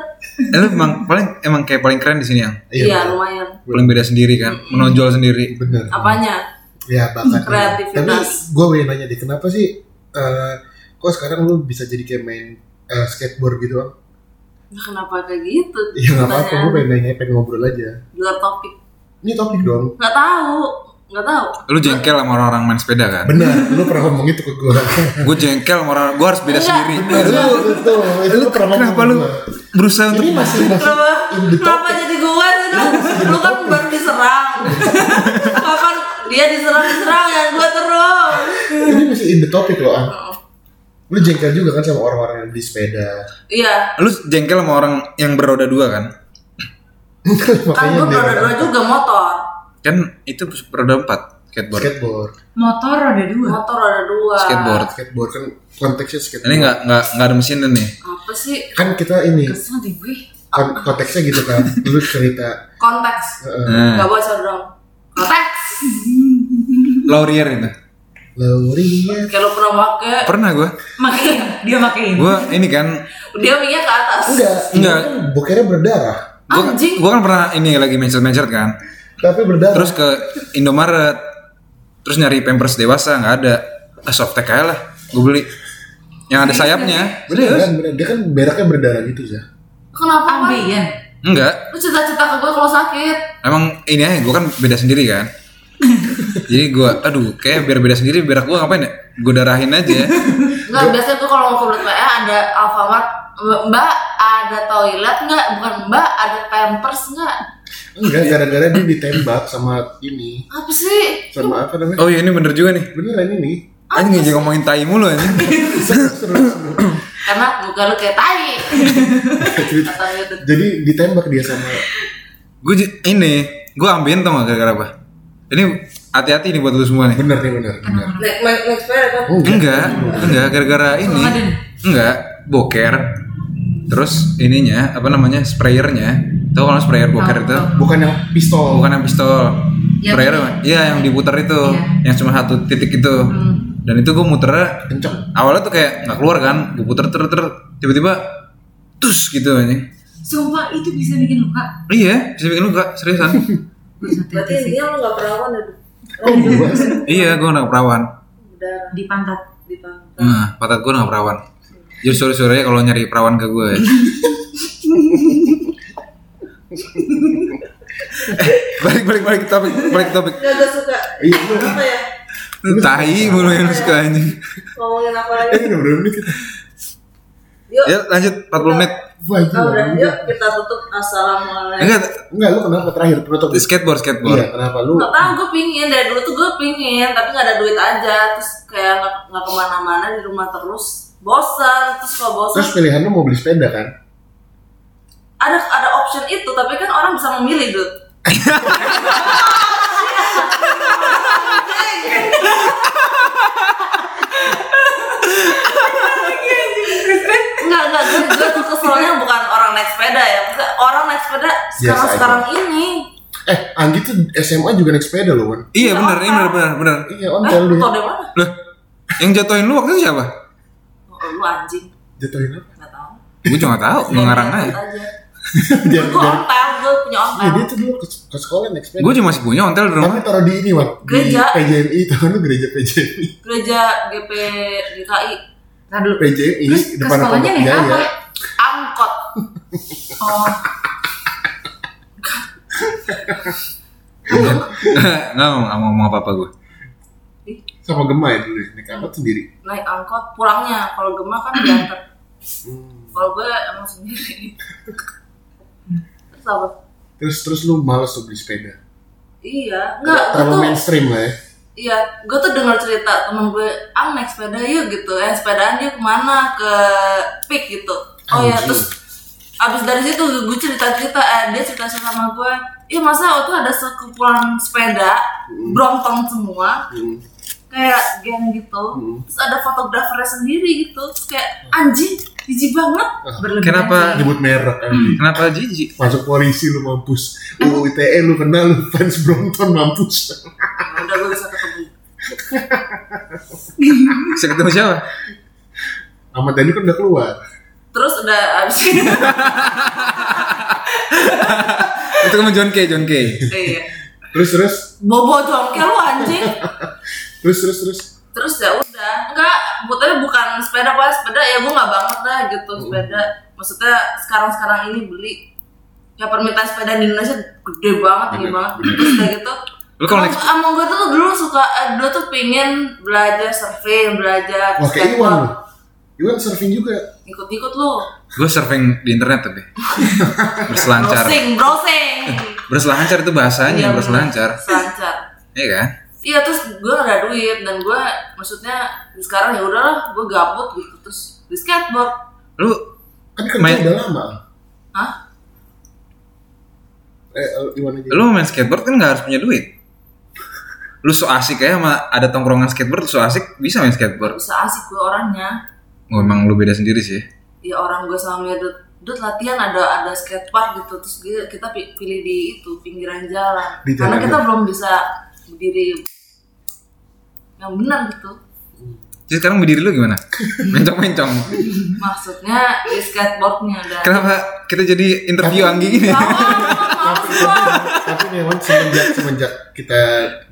Speaker 2: Eh, lu emang paling emang kayak paling keren di sini yang
Speaker 3: Iya,
Speaker 1: bener.
Speaker 3: lumayan.
Speaker 2: paling beda sendiri kan, menonjol sendiri.
Speaker 1: bener.
Speaker 3: Apanya?
Speaker 1: Ya bahkan
Speaker 3: Kreativitas.
Speaker 1: Tapi gue pengen nanya deh, kenapa sih eh kok sekarang lu bisa jadi kayak main eh, skateboard gitu? Bang?
Speaker 3: Nah, kenapa kayak gitu?
Speaker 1: ya nggak apa-apa gue
Speaker 3: Pertanyaan
Speaker 1: pengen nanya pengen ngobrol aja
Speaker 3: Di luar topik.
Speaker 1: ini topik dong
Speaker 3: Nggak tahu, nggak tahu.
Speaker 2: Lu jengkel sama orang-orang main sepeda kan?
Speaker 1: benar lu pernah ngomong itu ke gue
Speaker 2: Gue jengkel sama orang, gue harus beda
Speaker 3: Enggak.
Speaker 2: sendiri.
Speaker 1: betul betul itu lu pernah ngomong
Speaker 2: Kenapa
Speaker 1: ke
Speaker 2: lu
Speaker 1: gua.
Speaker 2: berusaha
Speaker 1: ini
Speaker 2: untuk
Speaker 1: masih masih
Speaker 3: Kenapa?
Speaker 1: in the
Speaker 3: Kenapa
Speaker 1: topic.
Speaker 3: jadi gue sih lu? Lu kan baru diserang. Kapan dia diserang diserang ya gue terus.
Speaker 1: ini masih in the topic loh ah lu jengkel juga kan sama orang-orang yang beli sepeda
Speaker 3: Iya,
Speaker 2: Lu jengkel sama orang yang berroda dua kan?
Speaker 3: kan
Speaker 1: makanya
Speaker 3: gue
Speaker 1: dia
Speaker 3: berada dua juga motor.
Speaker 2: Kan itu berroda empat skateboard.
Speaker 1: skateboard
Speaker 4: Motor roda dua.
Speaker 3: Motor ada dua.
Speaker 2: Skateboard.
Speaker 1: skateboard kan konteksnya skateboard
Speaker 2: Ini nggak nggak nggak ada mesin nih.
Speaker 3: Apa sih
Speaker 1: kan kita ini
Speaker 4: Kesel deh gue.
Speaker 1: kon- konteksnya gitu kan lu cerita
Speaker 3: konteks?
Speaker 1: uh,
Speaker 2: Nah,
Speaker 3: Gak bocor dong. Konteks.
Speaker 2: laurier itu.
Speaker 1: Lauria
Speaker 3: Kayak lu pernah pakai.
Speaker 2: Pernah gue.
Speaker 4: Makein, dia makein.
Speaker 2: Gue ini kan
Speaker 3: Dia minyak ke atas.
Speaker 1: enggak
Speaker 2: Enggak.
Speaker 1: enggak kan bokernya berdarah
Speaker 2: gue
Speaker 3: Anjing.
Speaker 2: gue kan pernah ini lagi mencet-mencet kan.
Speaker 1: tapi berdarah
Speaker 2: Terus ke Indomaret. Terus nyari Pampers dewasa nggak ada. Eh, Softtek aja lah. Gue beli yang ada sayapnya.
Speaker 1: bener kan bener dia kan beraknya berdarah gitu ya
Speaker 3: Kenapa? Wan?
Speaker 4: Ambeien.
Speaker 2: Enggak.
Speaker 3: Lu cerita-cerita ke gue kalau sakit.
Speaker 2: Emang ini aja gue kan beda sendiri kan. Jadi gue, aduh, kayak biar beda sendiri, biar gue ngapain ya? Gue darahin aja.
Speaker 3: Enggak, biasanya gue kalau mau ke Blok PA ada Alfamart. "Mba- Mbak, ada toilet nggak? Bukan Mbak, ada Pampers nggak?
Speaker 1: enggak gara-gara dia ditembak sama ini
Speaker 3: Apa sih?
Speaker 1: sama apa namanya
Speaker 2: Oh iya ini bener juga nih.
Speaker 1: beneran ini
Speaker 2: Anjing aja ngomongin tai mulu aja.
Speaker 3: Karena muka lu kayak tai. Kata Yudit.
Speaker 1: jadi ditembak dia sama
Speaker 2: Gue ini, gue ambien tau gak gara-gara apa? Ini hati-hati nih buat lu semua nih.
Speaker 1: bener nih bener bener
Speaker 3: Naik naik naik sepeda kan?
Speaker 1: oh, enggak.
Speaker 2: Enggak, enggak gara-gara ini. Enggak, boker. Terus ininya apa namanya sprayernya? Tahu kalau sprayer boker itu?
Speaker 1: bukan yang pistol
Speaker 2: Bukan yang pistol. Sprayer, iya yang diputar itu, yang cuma satu titik itu. Dan itu gue muternya
Speaker 1: kenceng
Speaker 2: awalnya tuh kayak nggak keluar kan gue puter ter ter tiba-tiba tus gitu aja
Speaker 4: Sumpah itu bisa bikin luka.
Speaker 2: iya bisa bikin luka seriusan
Speaker 4: Gue santai aja sih.
Speaker 3: Iya, lu nggak perawan ya?
Speaker 1: oh gua
Speaker 2: iya gue nggak perawan
Speaker 4: Di pantat.
Speaker 2: nah patah gue nggak perawan jadi sore sore kalau nyari perawan ke gue ya. eh, balik balik balik ke topik balik ke topik
Speaker 3: Gak suka.
Speaker 1: iya
Speaker 3: Apa ya?
Speaker 2: Lu tai mulu yang lu suka anjing
Speaker 3: Ngomongin apa lagi?
Speaker 1: eh udah berapa menit kita
Speaker 2: ya lanjut 40 menit
Speaker 1: Wah,
Speaker 3: Oh,
Speaker 1: gila.
Speaker 3: Nah, kita tutup assalamualaikum.
Speaker 2: enggak
Speaker 1: enggak lu kenapa terakhir penutup
Speaker 2: skateboard skateboard
Speaker 1: iya kenapa lu
Speaker 3: Gak tau, gue pingin dari dulu tuh gue pingin, tapi gak ada duit aja. Terus kayak gak, nggak kemana-mana di rumah terus, bosan. Terus kalau bosan,
Speaker 1: terus pilihan lu mau beli sepeda kan
Speaker 3: ada ada option itu, tapi kan orang bisa memilih dulu. Enggak, enggak, gue, gue tuh keselnya bukan orang naik sepeda ya Maksudnya orang naik sepeda sekarang-sekarang ini
Speaker 1: eh Anggi tuh SMA juga naik sepeda loh kan
Speaker 2: iya benar ini benar benar benar
Speaker 1: iya on
Speaker 3: Eh,
Speaker 1: tell lu
Speaker 3: tau dari mana?
Speaker 2: loh yang jatuhin lu waktu itu siapa
Speaker 3: Oh, lu anjing,
Speaker 1: jatuhin apa
Speaker 3: gak tau
Speaker 2: gue juga nggak tahu ngarang aja
Speaker 1: dia
Speaker 3: Gue ontel, gue punya
Speaker 1: Iya,
Speaker 3: ontel
Speaker 1: dia tuh dulu ke, ke sekolah naik sepeda
Speaker 2: Gue juga masih punya ontel di
Speaker 1: tapi
Speaker 2: rumah.
Speaker 1: taruh di ini wan di
Speaker 3: Gereja.
Speaker 1: PJMI tahu kan lu gereja PJMI
Speaker 3: gereja GP GKI
Speaker 4: Ntar dulu.
Speaker 1: PJMI
Speaker 4: Terus ke
Speaker 1: depan Iya,
Speaker 4: sekolahnya
Speaker 1: pondok
Speaker 4: naik apa?
Speaker 1: biaya
Speaker 3: angkot
Speaker 4: Oh,
Speaker 1: Iya.
Speaker 2: Nggak ngomong, nggak ngomong apa-apa gue.
Speaker 1: sama Gema ya dulu ya, naik angkot sendiri
Speaker 3: naik angkot pulangnya kalau gemah kan diantar kalau gue emang sendiri terus apa
Speaker 1: terus terus lu malas tuh beli sepeda
Speaker 3: iya enggak gue
Speaker 1: terlalu
Speaker 3: tuh
Speaker 1: mainstream lah ya
Speaker 3: iya gue tuh dengar cerita temen gue ang naik sepeda yuk gitu eh sepedaan dia kemana ke pik gitu oh ya
Speaker 1: Anjing.
Speaker 3: terus abis dari situ gue cerita cerita eh, dia cerita cerita sama gue iya masa waktu ada sekumpulan sepeda brontong semua
Speaker 1: Hmm.
Speaker 3: kayak geng gitu
Speaker 1: Hmm.
Speaker 3: terus ada fotografernya sendiri gitu terus kayak anjing jijik banget
Speaker 4: berlebihan.
Speaker 2: Kenapa?
Speaker 1: nyebut merek kan
Speaker 2: Kenapa jijik?
Speaker 1: masuk polisi lu mampus UU ITE E, lu kenal lu fans Brompton mampus
Speaker 3: Ya udah gue bisa ketemu
Speaker 2: Bisa ketemu siapa?
Speaker 1: Ahmad Dhani kan udah keluar
Speaker 3: terus udah abis itu
Speaker 2: Itu sama John K, John K.
Speaker 3: iya.
Speaker 1: terus terus
Speaker 3: bobo jongkel lu anjing
Speaker 1: terus terus terus
Speaker 3: terus ya udah enggak maksudnya bukan sepeda pas sepeda ya gue nggak banget lah gitu
Speaker 1: Hmm.
Speaker 3: sepeda maksudnya sekarang sekarang ini beli ya permintaan sepeda di Indonesia gede banget
Speaker 1: Hmm.
Speaker 3: gede
Speaker 2: Gede.
Speaker 3: banget terus kayak gitu
Speaker 2: Lu kalau naik-
Speaker 3: emang gue tuh dulu suka eh, dulu tuh pingin belajar surfing belajar
Speaker 1: Wah kayak Iwan
Speaker 3: skateboard.
Speaker 1: loh. Iwan surfing juga.
Speaker 3: ikut-ikut lu
Speaker 2: Gue surfing di internet tapi berselancar.
Speaker 3: browsing browsing
Speaker 2: Berselancar itu bahasanya,
Speaker 3: Iya,
Speaker 2: berselancar.
Speaker 3: selancar
Speaker 2: Iya kan?
Speaker 3: Iya terus gue gak ada duit dan gue maksudnya sekarang ya udahlah gue gabut gitu terus di skateboard
Speaker 2: Lu
Speaker 1: Kan kerja
Speaker 2: Main-
Speaker 1: udah lama.
Speaker 3: Hah?
Speaker 1: Eh, eh, Iwan aja.
Speaker 2: lu main skateboard kan nggak harus punya duit. Lu so asik ya sama ada tongkrongan skateboard, lu so asik bisa main skateboard.
Speaker 3: Bisa asik gue orangnya
Speaker 2: Oh, emang lu beda sendiri sih.
Speaker 3: Ya orang gue sama Medut Dut latihan ada ada skatepark gitu terus dia- kita pi- pilih di itu pinggiran jalan
Speaker 1: Di
Speaker 3: karena
Speaker 1: jalan
Speaker 3: kita belum bisa berdiri yang benar gitu
Speaker 2: Jadi sekarang berdiri lu gimana? Mencong-mencong.
Speaker 3: maksudnya di skateboardnya dan
Speaker 2: Kenapa kita jadi interview Anggi gini?
Speaker 3: Tahu, ah, males gua.
Speaker 1: Tapi memang semenjak semenjak kita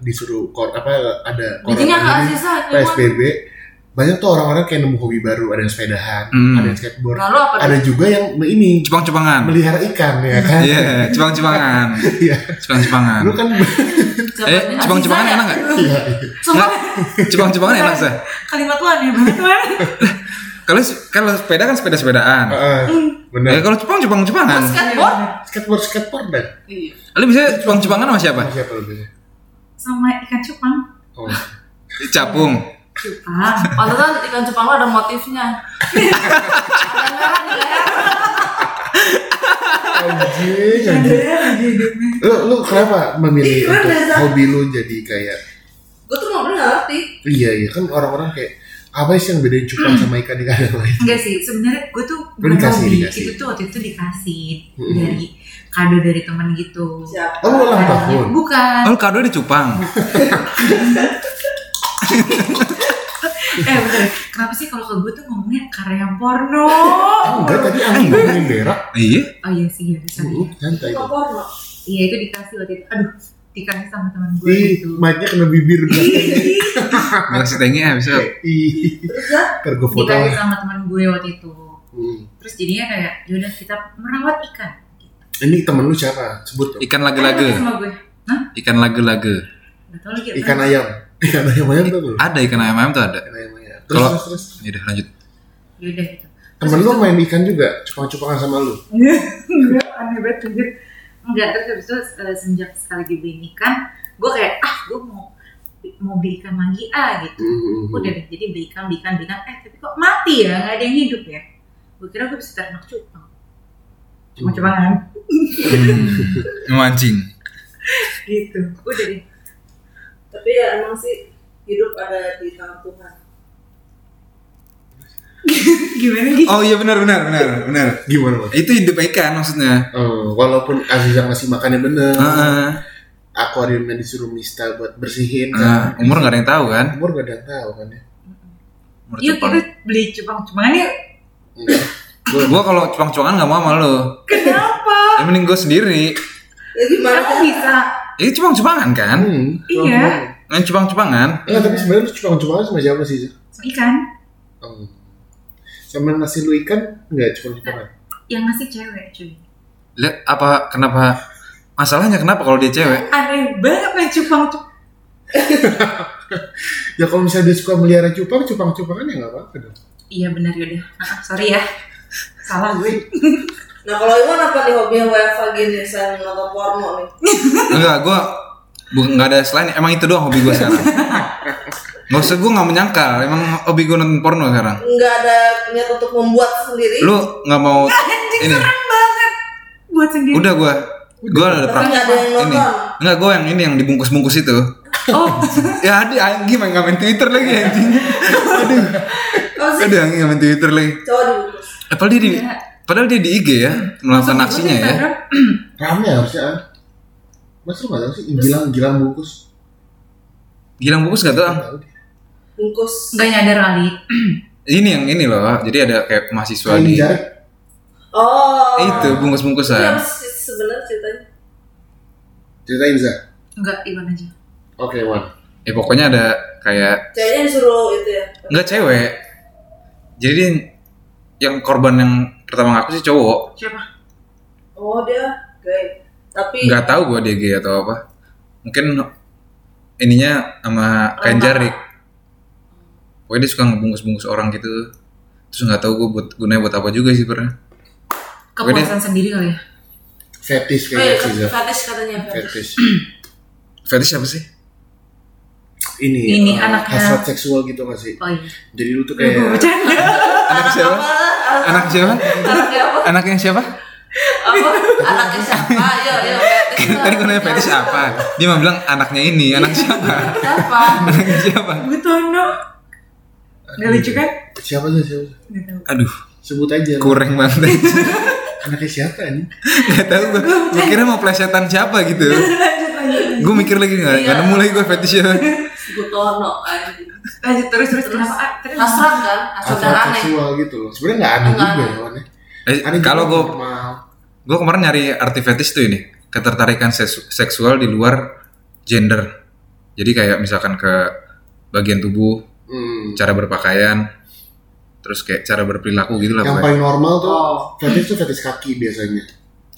Speaker 1: disuruh kor apa ada
Speaker 3: Bikinnya nggak
Speaker 1: ini,
Speaker 3: sisa, Iwan.
Speaker 1: PSBB banyak tuh orang-orang kayak nemu hobi baru ada yang sepedahan,
Speaker 2: Hmm.
Speaker 1: ada yang skateboard,
Speaker 3: Nah, lu apa,
Speaker 1: ada juga yang ini
Speaker 2: Cupang-cupangan.
Speaker 1: melihara ikan ya kan?
Speaker 2: Iya, cupang-cupangan.
Speaker 1: Iya.
Speaker 2: Cupang-cupangan.
Speaker 1: Lu kan
Speaker 3: Siapa
Speaker 2: Eh,
Speaker 3: nih?
Speaker 2: cupang-cupangan
Speaker 3: Aziza ya?
Speaker 2: enak nggak?
Speaker 1: iya.
Speaker 3: Sumpah,
Speaker 2: Cupang-cupangan
Speaker 1: ya,
Speaker 2: enak sih.
Speaker 4: Kalimat lu aneh banget kan?
Speaker 2: ya, Kalau kalau sepeda kan sepeda-sepedaan.
Speaker 1: Heeh.
Speaker 2: Ya
Speaker 1: Benar.
Speaker 2: kalau Jepang Jepang
Speaker 3: lu
Speaker 2: Jepangan.
Speaker 3: skateboard
Speaker 1: Skateboard skateboard dan
Speaker 3: Iya.
Speaker 2: Lu bisa Jepang Jepangan sama siapa?
Speaker 1: siapa lu biasanya?
Speaker 4: Sama ikan cupang.
Speaker 1: Oh.
Speaker 2: Capung.
Speaker 4: Cupang.
Speaker 3: Pantesan ikan cupang lo ada motifnya. ada merah di leher.
Speaker 1: Anjing, anjing. Lu lu kenapa memilih
Speaker 4: Iwan
Speaker 1: untuk
Speaker 4: dasar.
Speaker 1: hobi lu jadi kayak
Speaker 3: Gue tuh nggak pernah ngerti.
Speaker 1: Iya iya kan orang-orang kayak apa sih yang bedain cupang
Speaker 2: Hmm.
Speaker 1: sama ikan ikan yang lain?
Speaker 4: Enggak sih, sebenarnya gue tuh
Speaker 1: Lu
Speaker 4: bukan
Speaker 1: dikasih,
Speaker 4: hobi.
Speaker 1: dikasih.
Speaker 4: Itu tuh waktu itu dikasih
Speaker 1: Mm-mm.
Speaker 4: dari kado dari temen gitu.
Speaker 1: Oh lu ulang tahun?
Speaker 4: Bukan.
Speaker 2: Oh, lu kado di Cupang.
Speaker 4: Eh bener, kenapa sih kalau ke gue tuh ngomongnya karya porno?
Speaker 1: Ah, Enggak tadi angin ngomongin berak.
Speaker 2: Iya.
Speaker 4: Oh iya sih, ya bisa
Speaker 1: Uh, santai dong.
Speaker 3: Apa porno?
Speaker 4: Iya itu dikasih waktu itu, aduh dikasih sama teman gue
Speaker 1: Ih,
Speaker 4: gitu
Speaker 1: mic-nya kena bibir udah.
Speaker 4: Iya.
Speaker 2: Makasih tengi ah bisa.
Speaker 1: Ih, ntar gue foto.
Speaker 4: Dikasih sama teman gue waktu itu
Speaker 1: Hmm.
Speaker 4: Terus jadinya kayak, yaudah kita merawat ikan
Speaker 1: Ini temen lu siapa? Sebut dong.
Speaker 2: Ikan
Speaker 4: Ayo
Speaker 2: lage-lage.
Speaker 4: Sama gue, hah?
Speaker 2: Ikan lage-lage.
Speaker 4: Gak tau lagi apa.
Speaker 1: Ikan ayam. Ikan ayam ayam tuh lu.
Speaker 2: Ada ikan ayam ayam tuh ada.
Speaker 1: Ikan ayam ayam. Terus
Speaker 2: Kalau-
Speaker 1: terus terus.
Speaker 2: Ya udah lanjut.
Speaker 4: Yaudah gitu
Speaker 1: Temen lu main ikan juga, cupang-cupangan sama lu.
Speaker 4: Enggak, aneh banget anjir. Enggak, terus habis itu eh, semenjak sekali dibeliin ikan Gue kayak, ah gue mau mau beli ikan lagi ah gitu
Speaker 1: Hmm.
Speaker 4: Udah deh, jadi beli ikan, beli ikan, beli ikan Eh tapi kok mati ya, gak ada yang hidup ya Gue kira gue bisa ternak cupang Cuma cupangan
Speaker 2: Hmm. Mancing.
Speaker 4: gitu udah deh
Speaker 3: Tapi ya emang sih hidup ada di tangan Tuhan.
Speaker 4: gimana gitu
Speaker 2: Oh iya benar benar benar benar.
Speaker 1: Gimana Mas?
Speaker 2: Itu hidup ikan maksudnya.
Speaker 1: Oh, walaupun Aziza ngasih makannya bener,
Speaker 2: Heeh.
Speaker 1: akuariumnya disuruh Mista buat bersihin
Speaker 2: Nah,
Speaker 1: kan.
Speaker 2: umur nggak ada yang tahu kan?
Speaker 1: Umur gak ada yang tahu kan ya.
Speaker 2: Umur
Speaker 4: yuk
Speaker 2: Jepang.
Speaker 4: kita beli cupang cupangan yuk
Speaker 1: Enggak. Gua-
Speaker 2: Gua kalau Jepang-Jepangan nggak mau sama lu.
Speaker 4: kenapa
Speaker 2: Ya mending gua sendiri.
Speaker 3: Ya gimana?
Speaker 4: kamu bisa
Speaker 2: Ini Jepang-Jepangan kan?
Speaker 1: Hmm,
Speaker 4: Iya.
Speaker 1: cupang-cupangan.
Speaker 2: Main Jepang-Jepangan.
Speaker 1: Enggak, tapi sebenarnya lu cupang-cupangan sama siapa sih? Zul?
Speaker 4: ikan
Speaker 1: Oh. Sama nasi lu ikan enggak cupang-cupangan.
Speaker 4: yang ngasih cewek cuy
Speaker 2: Lihat apa kenapa masalahnya kenapa kalau dia cewek?
Speaker 4: aneh banget main cupang tuh
Speaker 1: Ya kalau misalnya dia suka melihara cupang, cupang-cupangan ya enggak apa-apa dong.
Speaker 4: iya benar yaudah Ah, ah, sorry ya salah gue
Speaker 3: Nah kalau Iwan apa nih hobi yang WFA gini selain nonton porno nih?
Speaker 2: Enggak, gue nggak ada selain emang itu doang hobi gue sekarang. Gak usah gue nggak menyangkal, emang hobi gue nonton porno sekarang.
Speaker 3: Nggak ada niat untuk membuat sendiri.
Speaker 2: Lu nggak mau
Speaker 4: anjing
Speaker 2: ini?
Speaker 4: serem banget buat sendiri
Speaker 2: Udah gue, gue ada pra-
Speaker 3: nggak ada yang
Speaker 2: ini. Enggak gue yang ini yang dibungkus-bungkus itu.
Speaker 4: oh
Speaker 2: Ya ada Anggi main main Twitter lagi anjing. Aduh. Ada Anggi nggak main Twitter lagi.
Speaker 3: Cowok dibungkus.
Speaker 2: Eh, Padahal dia di,
Speaker 4: Iya.
Speaker 2: padahal dia di IG ya melakukan aksinya ya.
Speaker 4: Instagram,
Speaker 1: Rame harusnya. ah. Mas lu enggak tahu sih gilang-gilang bungkus.
Speaker 2: Gilang bungkus gak tuh? Ang?
Speaker 1: Nggak tahu deh.
Speaker 3: Bungkus.
Speaker 4: nggak nyadar kali
Speaker 2: Ini yang ini loh. Jadi ada kayak mahasiswa
Speaker 1: Kain
Speaker 2: di
Speaker 1: jarik.
Speaker 3: Oh. Iya,
Speaker 2: itu bungkus-bungkusan.
Speaker 3: sebenarnya ceritanya?
Speaker 1: Ceritain, Za.
Speaker 4: enggak Iwan aja
Speaker 1: Oke, Wan.
Speaker 2: Ya pokoknya ada kayak
Speaker 3: Ceweknya disuruh itu ya.
Speaker 2: nggak cewek jadi dia yang- yang korban yang pertama ngaku sih cowok
Speaker 4: Siapa?
Speaker 3: Oh dia gay. Tapi
Speaker 2: nggak tahu gua dia gay atau apa mungkin ininya sama kain
Speaker 3: Lama.
Speaker 2: jarik pokoknya dia suka ngebungkus-bungkus orang gitu terus nggak tahu gue buat gunanya buat apa juga sih pernah
Speaker 4: Kepuasan sendiri kali ya?
Speaker 1: Fetish
Speaker 2: Iya,
Speaker 3: eh,
Speaker 1: kayaknya sih Zaf.
Speaker 3: fetish katanya fetish.
Speaker 1: Fetish.
Speaker 2: fetish apa sih
Speaker 1: Ini.
Speaker 4: Ini
Speaker 1: eh,
Speaker 4: anaknya.
Speaker 1: Hasrat seksual gitu nggak sih?
Speaker 4: Oh iya.
Speaker 1: Jadi lu tuh
Speaker 4: Gue
Speaker 1: kayak.
Speaker 4: bercanda.
Speaker 2: anak siapa
Speaker 3: Apa? Anak-
Speaker 2: anak siapa
Speaker 3: Anaknya apa?
Speaker 2: anaknya siapa
Speaker 3: Apa? Anaknya siapa? Iya, Yo yo fetish.
Speaker 2: tadi gue nanya fetish apa dia mah bilang anaknya ini anak siapa
Speaker 3: Siapa?
Speaker 2: anaknya siapa
Speaker 4: Gue tono. Gak lucu
Speaker 2: iya.
Speaker 4: kan?
Speaker 1: Siapa sih siapa? sih?
Speaker 4: Gak tau.
Speaker 2: aduh
Speaker 1: Sebut aja.
Speaker 2: kurang banget
Speaker 1: Anaknya siapa ini?
Speaker 2: Gak tau gue Gue kira mau plesetan siapa gitu
Speaker 4: Lanjut, lanjut.
Speaker 2: Gue mikir lagi gak, nggak nemu lagi gue fetishnya
Speaker 3: Gutono anjing.
Speaker 4: Lanjut terus, terus. Kenapa? Ah, Terus.
Speaker 3: Hasrat kan? Hasrat dan
Speaker 1: Hasrat
Speaker 3: aneh.
Speaker 1: seksual gitu loh. Sebenarnya nggak aneh
Speaker 3: Nggak
Speaker 1: juga
Speaker 3: aneh.
Speaker 1: ya Wan, ya.
Speaker 2: eh,
Speaker 1: Aneh juga
Speaker 2: Kalau gue
Speaker 1: normal.
Speaker 2: Gue kemarin nyari arti fetish tuh ini Ketertarikan ses- seksual di luar gender Jadi kayak misalkan ke bagian tubuh
Speaker 1: Hmm.
Speaker 2: Cara berpakaian Terus kayak cara berperilaku gitu lah
Speaker 1: Yang
Speaker 2: pokoknya.
Speaker 1: paling normal tuh
Speaker 3: Oh.
Speaker 1: fetish tuh fetish kaki biasanya.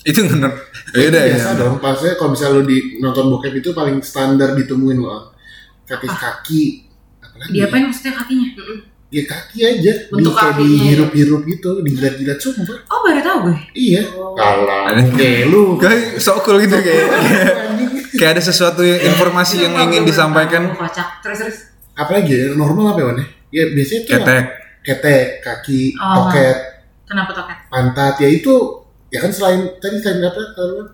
Speaker 2: Itu bener Ya udah ya
Speaker 1: biasa dong. Maksudnya kalau misalnya lu di nonton bokep itu paling standar ditemuin loh. Fetish
Speaker 3: Ah.
Speaker 1: kaki. Apalagi?
Speaker 4: Dia apain maksudnya kakinya?
Speaker 1: Ya kaki aja.
Speaker 3: Bentuk
Speaker 1: di, kayak
Speaker 3: kakinya.
Speaker 1: dihirup-hirup gitu, dijilat-jilat sumpah.
Speaker 4: Oh baru tau gue.
Speaker 1: Iya. Kalah. Oke, lu.
Speaker 2: Kayak sok cool gitu kayak
Speaker 1: Anjing.
Speaker 2: Kayak ada sesuatu yang informasi yang ingin disampaikan
Speaker 4: Kocak. Terus terus.
Speaker 1: Apalagi ya, normal apa ya, Wan? ya? Ya biasanya tuh yang-
Speaker 2: Ketek
Speaker 1: ketek, kaki,
Speaker 3: Ah.
Speaker 4: Oh.
Speaker 1: toket,
Speaker 4: Kenapa toket?
Speaker 1: pantat. Ya itu ya kan selain tadi selain apa? kalau-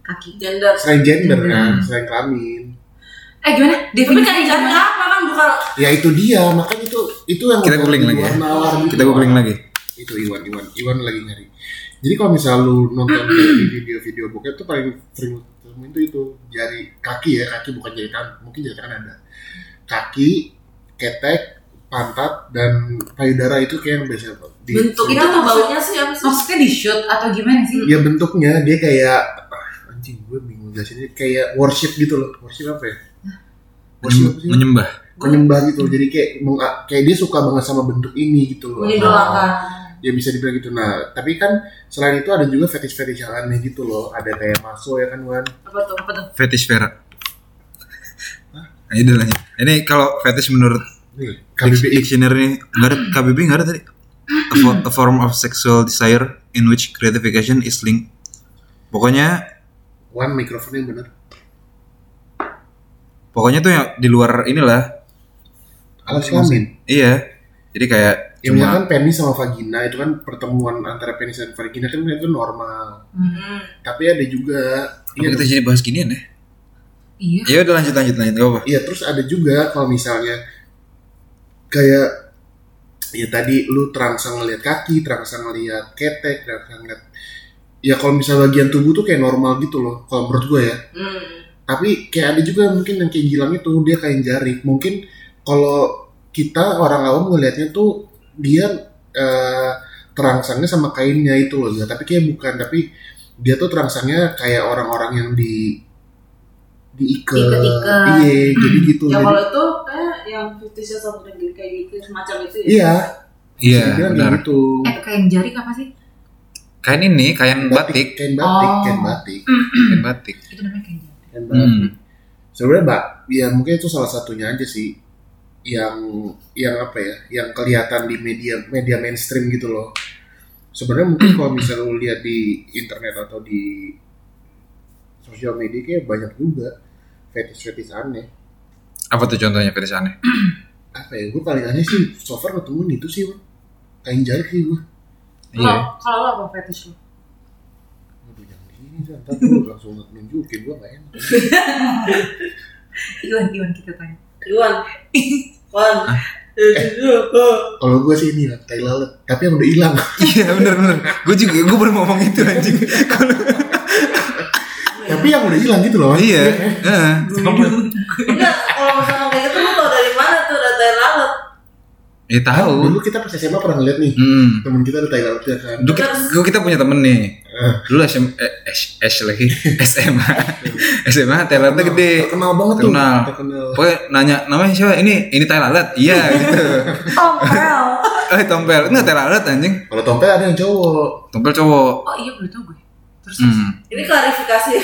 Speaker 4: Kaki.
Speaker 3: Gender.
Speaker 1: Selain gender
Speaker 4: Hmm.
Speaker 1: kan, selain kelamin.
Speaker 4: Eh gimana?
Speaker 3: Tapi
Speaker 4: Definisi
Speaker 3: kayak
Speaker 4: gimana?
Speaker 3: jarak apa kan bukan
Speaker 1: Ya itu dia, makanya itu itu yang
Speaker 2: Kita
Speaker 1: udah
Speaker 2: googling lagi
Speaker 1: Iwan
Speaker 2: ya.
Speaker 1: nawar gitu.
Speaker 2: Kita googling lagi
Speaker 1: Itu Iwan, Iwan, Iwan lagi nyari. Jadi kalau misal lu nonton kayak di video-video bokep tuh paling sering temuin tuh itu jari kaki ya, kaki bukan jari tangan, mungkin jari tangan ada. Kaki, ketek, pantat dan payudara itu kayak yang biasa di,
Speaker 3: bentuk itu
Speaker 4: Iya,
Speaker 3: tuh
Speaker 4: maksud-
Speaker 3: baunya sih apa sih?
Speaker 4: Maksudnya di shoot atau gimana sih?
Speaker 1: Ya bentuknya dia kayak ah, anjing gue bingung jelasinnya kayak worship gitu loh. Worship apa ya? Worship apa sih?
Speaker 2: Menyembah
Speaker 1: menyembah gitu loh. Jadi kayak meng- kayak dia suka banget sama bentuk ini gitu loh.
Speaker 3: Mengidolakan.
Speaker 1: ya bisa dibilang gitu nah tapi kan selain itu ada juga fetish fetish yang aneh gitu loh ada kayak maso ya kan Wan
Speaker 3: Apa tuh? Apa tuh?
Speaker 2: fetish Vera. Ayo dulu lanjut. Ini kalau fetish menurut
Speaker 1: nih
Speaker 2: diks-
Speaker 1: KBBI
Speaker 2: dictionary ini nggak ada KBB nggak ada tadi. A, fo- a form of sexual desire in which gratification is linked. Pokoknya
Speaker 1: Wan mikrofonnya yang bener
Speaker 2: pokoknya tuh yang di luar inilah.
Speaker 1: alat kelamin
Speaker 2: Iya. Jadi kayak
Speaker 1: ya
Speaker 2: cuma
Speaker 1: misalkan penis sama vagina itu kan pertemuan antara penis dan vagina kan itu normal
Speaker 3: Hmm.
Speaker 1: tapi ada juga
Speaker 2: Apa
Speaker 1: iya,
Speaker 2: kita jadi bahas ginian ya.
Speaker 4: Iya.
Speaker 2: Ya udah lanjut lanjut lanjut gak apa.
Speaker 1: iya terus ada juga kalau misalnya kayak ya tadi lu terangsang ngeliat kaki terangsang ngeliat ketek terangsang ngeliat ya kalau misalnya bagian tubuh tuh kayak normal gitu loh kalau menurut gue ya
Speaker 3: Hmm.
Speaker 1: tapi kayak ada juga mungkin yang kayak Gilang itu dia kain jarik mungkin kalau kita orang awam ngelihatnya tuh dia eh, terangsangnya sama kainnya itu loh Zah. tapi kayak bukan tapi dia tuh terangsangnya kayak orang-orang yang di diikat
Speaker 4: Diikat-ikat. Hmm.
Speaker 1: iya jadi gitu
Speaker 3: Ya
Speaker 1: jadi
Speaker 3: kalau itu kayak yang fetishnya sama dengan kayak gitu semacam itu ya.
Speaker 1: iya
Speaker 2: Iya
Speaker 1: bisa dibilang
Speaker 2: benar.
Speaker 1: kayak gitu
Speaker 4: Eh kain jari apa sih?
Speaker 2: Kain ini kain batik,
Speaker 1: kain batik
Speaker 4: Oh.
Speaker 1: kain batik
Speaker 2: kain batik.
Speaker 4: Itu namanya kain jari.
Speaker 1: kain batik
Speaker 2: Hmm.
Speaker 1: sebenarnya mbak ya mungkin itu salah satunya aja sih yang yang apa ya yang kelihatan di media media mainstream gitu loh sebenarnya mungkin kalau misalnya lu lihat di internet atau di sosial media kayak banyak juga fetish fetish aneh
Speaker 2: Apa tuh contohnya fetish aneh?
Speaker 1: apa ya gue paling aneh sih so far ketemuin itu sih Wan. kain jari sih gue
Speaker 2: Iya.
Speaker 4: Kalau- Kalau lo apa fetish lo?
Speaker 1: Aduh, jangan gini, Zan. ntar gue langsung nunjukin gue gak enak
Speaker 4: Iwan Iwan kita tanya.
Speaker 3: Iwan. Iwan.
Speaker 2: Eh.
Speaker 3: Eh,
Speaker 1: kalau gue sih ini lah, tai lalat tapi yang udah hilang
Speaker 2: Iya benar benar. Gue juga gue baru ngomong itu anjing. Iya. Kalau
Speaker 1: tapi yang udah hilang gitu loh Wan.
Speaker 2: iya. Heeh.
Speaker 3: Enggak, kalau misalnya kayak gitu lu tau dari mana tuh data yang lalat?
Speaker 2: Ya tahu.
Speaker 1: dulu kita pas SMA pernah ngeliat nih
Speaker 2: Hmm.
Speaker 1: temen kita ada tai lalatnya kan
Speaker 2: Dulu kita, dulu kita punya temen nih.
Speaker 1: Eh.
Speaker 2: Dulu SM, eh, S, S lagi SMA. SMA Thailandnya gede.
Speaker 1: terkenal banget
Speaker 2: Terkenal.
Speaker 1: tuh terkenal
Speaker 4: Oh,
Speaker 2: Pokoknya nanya namanya siapa? Ini ini Thailand. Iya gitu.
Speaker 4: Tompel.
Speaker 2: eh tompel enggak telalat anjing
Speaker 1: Kalau tompel ada yang cowok.
Speaker 2: tompel cowok
Speaker 4: oh iya baru tau gue terus terus.
Speaker 2: hmm.
Speaker 3: Ini klarifikasi.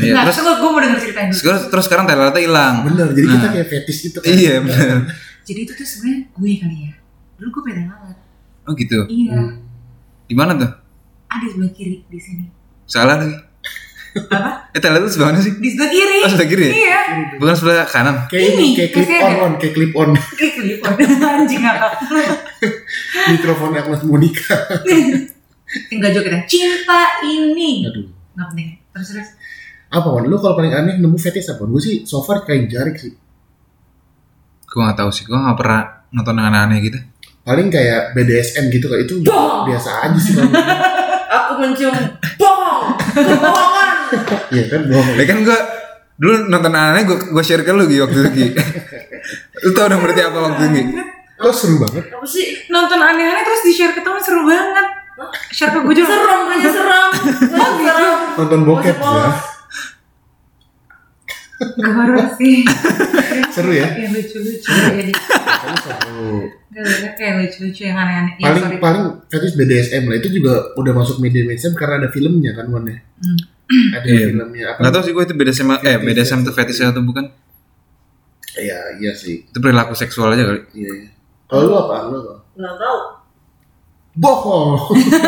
Speaker 2: iya.
Speaker 4: nah
Speaker 2: terus
Speaker 4: terus gue mau denger ceritanya dulu
Speaker 2: sekarang terus sekarang telalatnya hilang
Speaker 1: Bener, jadi kita
Speaker 2: Nah.
Speaker 1: kayak fetish gitu kan.
Speaker 2: iya bener
Speaker 4: jadi itu tuh sebenarnya gue kali ya dulu gue pengen alat
Speaker 2: oh gitu
Speaker 4: iya
Speaker 2: di mana tuh
Speaker 4: ada di sebelah kiri di sini
Speaker 2: salah lagi
Speaker 4: apa
Speaker 2: eh telalat itu sebelah mana sih
Speaker 4: di sebelah kiri
Speaker 2: oh sebelah kiri ya?
Speaker 4: iya
Speaker 2: bukan sebelah kanan
Speaker 1: Kayak
Speaker 4: Ini,
Speaker 1: ini, kayak clip
Speaker 4: kayak
Speaker 1: on, on, kayak clip on.
Speaker 4: Kayak gitu anjing apa
Speaker 1: Mikrofon Agnes Monica.
Speaker 4: tinggal joget ya cinta ini
Speaker 1: Aduh.
Speaker 4: nggak penting terus terus
Speaker 1: Apa Wan? Lu kalau paling aneh nemu fetish apa? Gue sih so far kain jarik sih.
Speaker 2: gua nggak tahu sih gua nggak pernah nonton yang aneh-aneh gitu
Speaker 1: Paling kayak BDSM gitu kayak itu
Speaker 3: Bong!
Speaker 1: biasa aja sih. Bang.
Speaker 3: Aku mencium bohong, kebohongan.
Speaker 1: Iya kan bohong.
Speaker 2: ya kan gua dulu nonton aneh gua gua share ke lu Gi, waktu itu Gi. lu tau dong berarti apa waktu itu Gi?
Speaker 1: Kok seru banget?
Speaker 3: Apa sih?
Speaker 4: nonton aneh-aneh terus di share ke teman seru banget share ke gue juga
Speaker 3: Serem aja serem. Serem, serem.
Speaker 1: Nonton bokep ya.
Speaker 4: Gak baru sih
Speaker 1: Seru ya?
Speaker 4: yang lucu-lucu jadi
Speaker 1: Paling seru.
Speaker 4: gak banyak kayak lucu-lucu yang aneh-aneh Iya,
Speaker 1: Paling
Speaker 4: sorry.
Speaker 1: paling fetish BDSM lah itu juga udah masuk media mainstream karena ada filmnya kan Wan ya.
Speaker 4: Hmm.
Speaker 1: Ada
Speaker 2: Iya.
Speaker 1: filmnya apa?
Speaker 2: nggak tahu sih gua itu beda sama eh beda sama tuh fetish atau bukan
Speaker 1: Iya, iya sih.
Speaker 2: itu perilaku seksual aja kali
Speaker 1: Iya. iya. Kalau lu apa? Lu apa?
Speaker 3: Nggak tahu.
Speaker 1: bohong.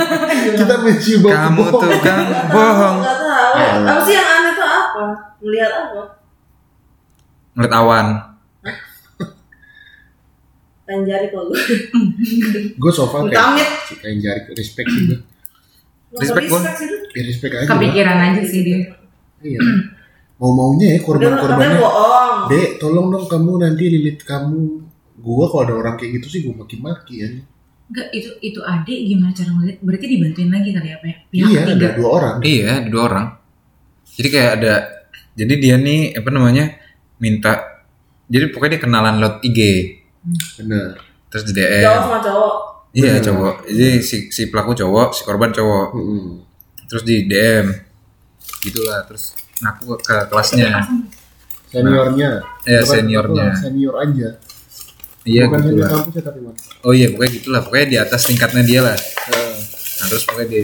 Speaker 1: kita mencium bau
Speaker 2: kamu
Speaker 1: bohong.
Speaker 2: tuh kan bohong
Speaker 3: Nggak tahu.
Speaker 1: Alah.
Speaker 3: Apa sih yang aneh tuh apa? Melihat apa?
Speaker 2: ngeliat awan
Speaker 3: Kain jari kalau gue.
Speaker 1: Gue so far kayak
Speaker 3: Amit.
Speaker 1: si kain jarik respect sih gue.
Speaker 2: Respect, Bon.
Speaker 1: Ya, respect aja. lah.
Speaker 4: kepikiran aja sih dia
Speaker 1: Iya. Mau maunya ya
Speaker 3: Korban Katanya
Speaker 1: korban-korbannya.
Speaker 3: bohong.
Speaker 1: Dek, tolong dong kamu nanti lilit kamu. Gua kalau ada orang kayak gitu sih gua maki-maki ya.
Speaker 4: Enggak, itu itu adik gimana cara ngeliat berarti dibantuin lagi kali apa ya pihak
Speaker 1: Iya,
Speaker 4: ketiga
Speaker 1: ada dua orang.
Speaker 2: iya ada dua orang jadi kayak ada jadi dia nih apa namanya minta jadi pokoknya dia kenalan lewat IG
Speaker 1: Bener.
Speaker 2: terus di
Speaker 1: Eh.
Speaker 2: DM
Speaker 3: Cowok sama cowok.
Speaker 2: iya
Speaker 1: Bener.
Speaker 2: cowok jadi si, si pelaku cowok si korban cowok
Speaker 1: Mm-mm.
Speaker 2: terus di DM gitulah terus ngaku ke kelasnya
Speaker 1: Seniornya.
Speaker 2: Iya,
Speaker 1: Bukan
Speaker 2: seniornya.
Speaker 1: apa, Senior aja.
Speaker 2: iya
Speaker 1: Bukan
Speaker 2: gitu
Speaker 1: senior
Speaker 2: lah
Speaker 1: kampus ya tapi Wan.
Speaker 2: oh iya pokoknya gitulah pokoknya di atas tingkatnya dia lah
Speaker 1: Eh,
Speaker 2: Nah, terus pokoknya dia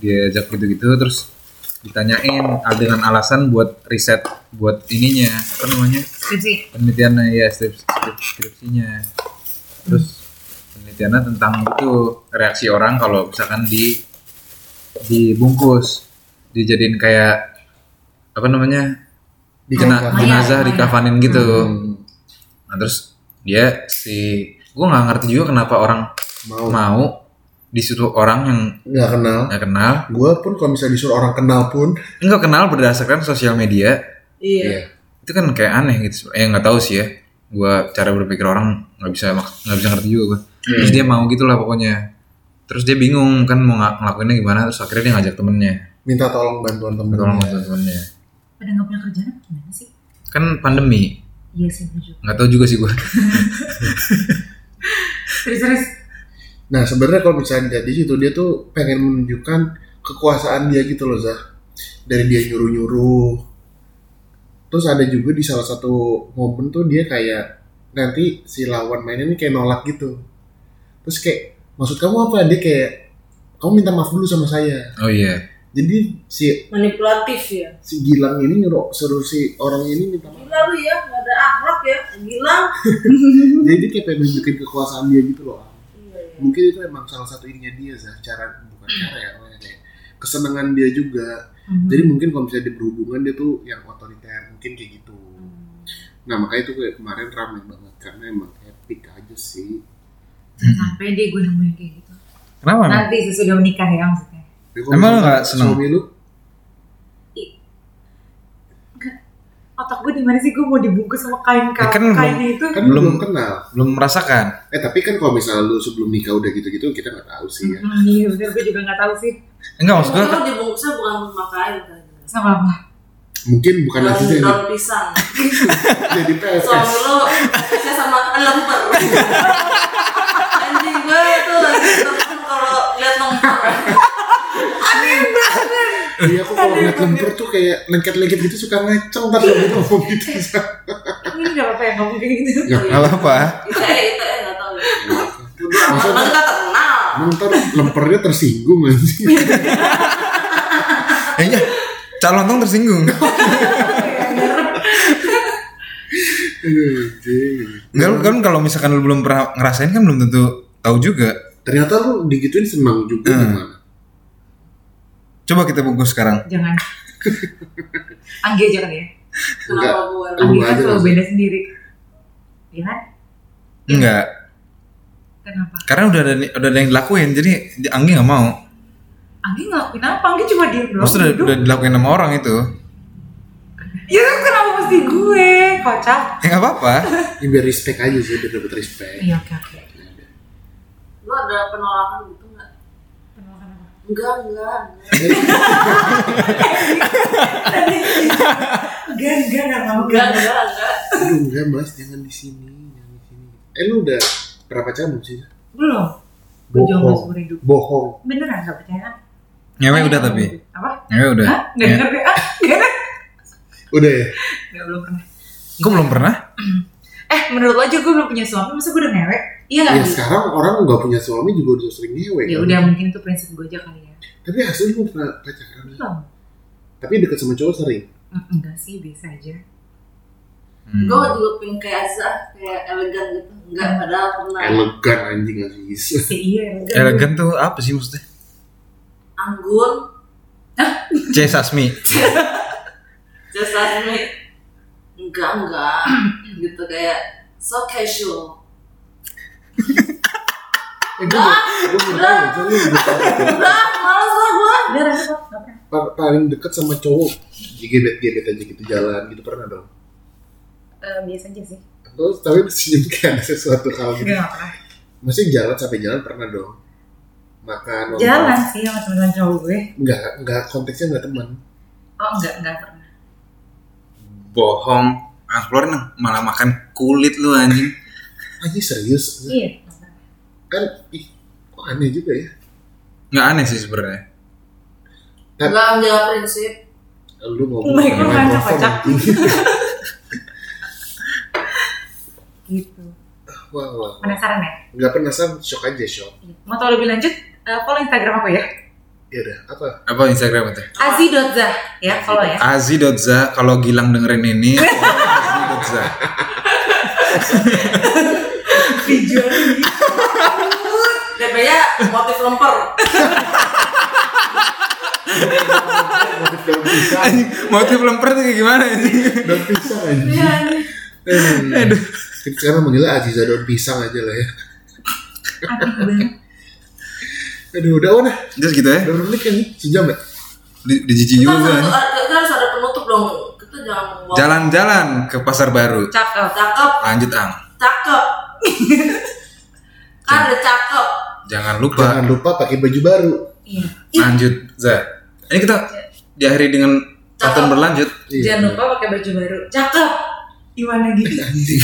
Speaker 2: diajak gitu-gitu terus ditanyain al- dengan alasan buat riset buat ininya apa namanya
Speaker 4: skripsi
Speaker 2: penelitiannya ya skrip- skrip- skripsinya terus penelitiannya tentang itu reaksi orang kalau misalkan di dibungkus dijadiin kayak apa namanya
Speaker 1: Di
Speaker 2: jena-
Speaker 1: kamar.
Speaker 2: jenazah dikafanin gitu
Speaker 1: Hmm.
Speaker 2: nah terus dia si gua nggak ngerti juga kenapa orang
Speaker 1: Mau.
Speaker 2: mau disuruh orang yang
Speaker 1: Nggak kenal.
Speaker 2: nggak kenal
Speaker 1: Gua pun kalau misalnya disuruh orang kenal pun.
Speaker 2: Enggak kenal berdasarkan sosial media
Speaker 3: Iya.
Speaker 2: itu kan kayak aneh gitu. Eh nggak tahu sih ya. Gua cara berpikir orang nggak bisa mak- nggak bisa ngerti juga gua. Terus dia mau gitulah pokoknya. Terus dia bingung kan mau ng- ngelakuinnya gimana. Terus akhirnya dia ngajak temennya.
Speaker 1: Minta tolong bantuan temen.
Speaker 2: Tolong ngajak temennya.
Speaker 4: pada nggak punya kerjaan apa gimana sih
Speaker 2: Kan pandemi.
Speaker 4: iya sih jujur
Speaker 2: Nggak tahu juga sih gua.
Speaker 4: terus terus
Speaker 1: Nah sebenarnya kalau misalnya lihat di situ dia tuh pengen menunjukkan kekuasaan dia gitu loh Zah. Dari dia nyuruh nyuruh. Terus ada juga di salah satu momen tuh dia kayak nanti si lawan mainnya ini kayak nolak gitu. Terus kayak maksud kamu apa? Dia kayak kamu minta maaf dulu sama saya.
Speaker 2: Oh iya.
Speaker 1: Jadi si
Speaker 3: Manipulatif ya.
Speaker 1: si Gilang ini nyuruh seru si orang ini minta maaf.
Speaker 3: Gila lu ya, nggak ada akhlak ya. Gila.
Speaker 1: Jadi dia kayak pengen nunjukin kekuasaan dia gitu loh.
Speaker 3: Iya, iya.
Speaker 1: Mungkin itu emang salah satu ininya dia Zah. Cara bukan cara ya. kayak kesenangan dia juga
Speaker 4: Mhm.
Speaker 1: Jadi mungkin kalau misalnya dia berhubungan dia tuh yang otoriter mungkin kayak gitu. Nah makanya itu kayak kemarin ramai banget karena emang epic aja sih. Hmm.
Speaker 4: Jangan sampai deh gue nemuin kayak gitu
Speaker 2: Kenapa emang?
Speaker 4: nanti sesudah menikah ya maksudnya
Speaker 1: Tapi kalau
Speaker 2: Emang lu
Speaker 1: misalnya
Speaker 2: nggak seneng?
Speaker 1: Suami lu
Speaker 4: otak gue di mana sih gue mau dibungkus sama kain
Speaker 2: Ya
Speaker 4: kain
Speaker 2: kan
Speaker 4: kainnya itu
Speaker 1: kan belum,
Speaker 2: Belum.
Speaker 1: belum kenal.
Speaker 2: Belum merasakan.
Speaker 1: Eh tapi kan kalau misalnya lu sebelum nikah udah gitu-gitu kita nggak tahu sih ya.
Speaker 4: Mhm, iya bener gue juga nggak tahu sih
Speaker 2: Enggak maksud gua
Speaker 3: Mungkin lu dibungkusnya bukan memakai kan.
Speaker 4: sama apa
Speaker 1: Mungkin bukan
Speaker 3: Daun
Speaker 1: lagi jadi,
Speaker 3: daun pisang.
Speaker 1: jadi PSS.
Speaker 3: Suami Iya, lu saya sama kan lemper. Anjing gue tuh lagi temen kalau lihat lemper.
Speaker 1: Iya aku kalau ngeliat lempur tuh kayak lengket-lengket gitu suka ngeceng ntar kalau gitu ngomong gitu.
Speaker 2: Iya.
Speaker 4: ini nggak apa-apa ya ngomong kayak gitu
Speaker 1: Nggak
Speaker 3: Eh,
Speaker 2: nggak apa-apa.
Speaker 3: ITE ITE ya. nggak tahu. Bodoh Emang kita terkenal.
Speaker 1: Emang ntar lempernya tersinggung kan sih?
Speaker 2: Kayaknya calon tong tersinggung.
Speaker 1: Aduh,
Speaker 4: Iya.
Speaker 1: anjing.
Speaker 2: Enggak lu kan kalau misalkan lu belum pernah ngerasain kan belum tentu tahu juga.
Speaker 1: Ternyata lu digituin senang juga
Speaker 2: Hmm.
Speaker 1: gimana?
Speaker 2: Coba kita bungkus sekarang.
Speaker 4: Jangan. Anggi aja kali ya.
Speaker 1: Enggak.
Speaker 3: Kenapa gue?
Speaker 1: Lu
Speaker 4: Anggi kan
Speaker 1: aja
Speaker 4: selalu
Speaker 1: langsung.
Speaker 4: beda sendiri. Iya kan?
Speaker 2: Enggak,
Speaker 4: Kenapa?
Speaker 2: karena udah ada udah ada yang dilakuin jadi Anggi nggak mau.
Speaker 4: Anggi ngelakuin apa? Anggi cuma diem doang.
Speaker 2: Maksudnya udah,
Speaker 4: duduk.
Speaker 2: udah dilakuin sama orang itu.
Speaker 4: Ya kan kenapa mesti gue? Kocak.
Speaker 2: Ya nggak apa-apa.
Speaker 1: Ya, biar respect aja sih, biar dapet respect.
Speaker 4: Iya oke oke.
Speaker 3: Lu ada penolakan gitu nggak? Enggak, enggak. enggak.
Speaker 4: Iya. Enggak enggak enggak mau
Speaker 3: Enggak, enggak, enggak.
Speaker 1: Aduh, enggak mas, jangan di sini, jangan di sini. Eh lu udah berapa pacaran belum sih?
Speaker 4: Belum. Gue jomblo seumur hidup.
Speaker 1: bohong.
Speaker 4: Beneran gak percaya?
Speaker 2: Nyewe udah tapi.
Speaker 4: Apa?
Speaker 2: Nyewe udah.
Speaker 4: Hah? Gak
Speaker 2: Ya.
Speaker 4: denger deh. Ah, gak
Speaker 1: Udah ya.
Speaker 4: Gak belum pernah.
Speaker 2: Kok belum pernah?
Speaker 4: Eh menurut lo aja gue belum punya suami masa gue udah ngewek? Iya gak?
Speaker 1: Ya sekarang orang nggak punya suami juga udah sering ngewe.
Speaker 4: Ya
Speaker 1: kan?
Speaker 4: udah mungkin itu prinsip gue aja kali ya.
Speaker 1: Tapi hasilnya lu pernah pacaran.
Speaker 4: Belum.
Speaker 1: Tapi deket sama cowok sering.
Speaker 4: Mm, Enggak sih biasa aja.
Speaker 2: Hmm.
Speaker 3: Gue juga pengen kayak Azza, kayak elegan gitu. Enggak, padahal
Speaker 4: Nah.
Speaker 3: pernah
Speaker 1: Elegan anjing Aziz.
Speaker 4: Ya, iya. enggak.
Speaker 2: Elegan tuh apa sih maksudnya?
Speaker 3: anggun,
Speaker 2: C Sasmi.
Speaker 3: just ask me. Enggak, enggak. gitu kayak so casual.
Speaker 1: Eh, gue gue nggak tahu. Soalnya lu udah tahu.
Speaker 3: Udah, males lah gue.
Speaker 4: Udah Rafa, gak pernah.
Speaker 1: Pa- paling deket sama cowok gebet-gebet aja gitu jalan gitu pernah dong.
Speaker 4: Eh, biasa aja sih.
Speaker 1: Terus tapi senyum kayak ada sesuatu hal gitu.
Speaker 4: Enggak gak pernah.
Speaker 1: Maksudnya jalan sampai jalan pernah dong. Makan. nonton.
Speaker 4: Jalan sih sama teman-teman cowok gue.
Speaker 1: Nggak nggak konteksnya nggak teman.
Speaker 4: Oh enggak, enggak pernah.
Speaker 2: Bohong. Ah, keluarin dong. malah makan kulit lu anjing.
Speaker 1: Anjing Ah, serius
Speaker 4: Iya. nggak pernah.
Speaker 1: kan? Ih, kok aneh juga ya.
Speaker 2: Nggak aneh sih sebenarnya.
Speaker 3: Enggak menjaga prinsip.
Speaker 1: Lu
Speaker 4: Oh
Speaker 1: ngomong sama
Speaker 4: my God,
Speaker 1: microphone,
Speaker 4: kocak.
Speaker 1: anjing.
Speaker 4: Gitu.
Speaker 1: Wah, wah.
Speaker 4: Penasaran ya?
Speaker 1: Nggak penasaran, shock aja shock.
Speaker 4: Iya. Mau tau lebih lanjut? eh, follow Instagram aku ya.
Speaker 1: Ya udah, apa?
Speaker 2: Apa Instagram itu?
Speaker 4: Azi.zah ya, follow ya.
Speaker 2: Azi.za kalau Gilang dengerin ini Azi.za
Speaker 3: DP-nya motif lemper.
Speaker 1: Motif daun pisang.
Speaker 2: Anjing, motif lemper tuh kayak gimana ini?
Speaker 1: Daun pisang
Speaker 4: Iya,
Speaker 1: anjing. Aduh. Kita sekarang manggilnya Aziza daun pisang aja lah ya.
Speaker 4: Aneh banget.
Speaker 1: Aduh, udah oh, udah.
Speaker 2: Terus gitu ya,
Speaker 1: Udah menit kan nih, sejam ya?
Speaker 2: di, di jijik
Speaker 3: Kita
Speaker 2: juga
Speaker 3: harus,
Speaker 2: gua, anjing.
Speaker 3: ada- kita harus ada penutup dong. Kita jangan ngomong.
Speaker 2: Jalan-jalan ke pasar baru
Speaker 4: Cakep.
Speaker 3: Cakep,
Speaker 2: Lanjut Ang
Speaker 3: cakep. kan ada cakep.
Speaker 2: Jangan lupa
Speaker 1: Jangan lupa pakai baju baru.
Speaker 4: Iya.
Speaker 2: Lanjut Za Ini kita diakhiri dengan Tonton berlanjut
Speaker 1: Iya.
Speaker 4: Jangan lupa pakai baju baru. Cakep. Gimana gitu?
Speaker 1: Anjing.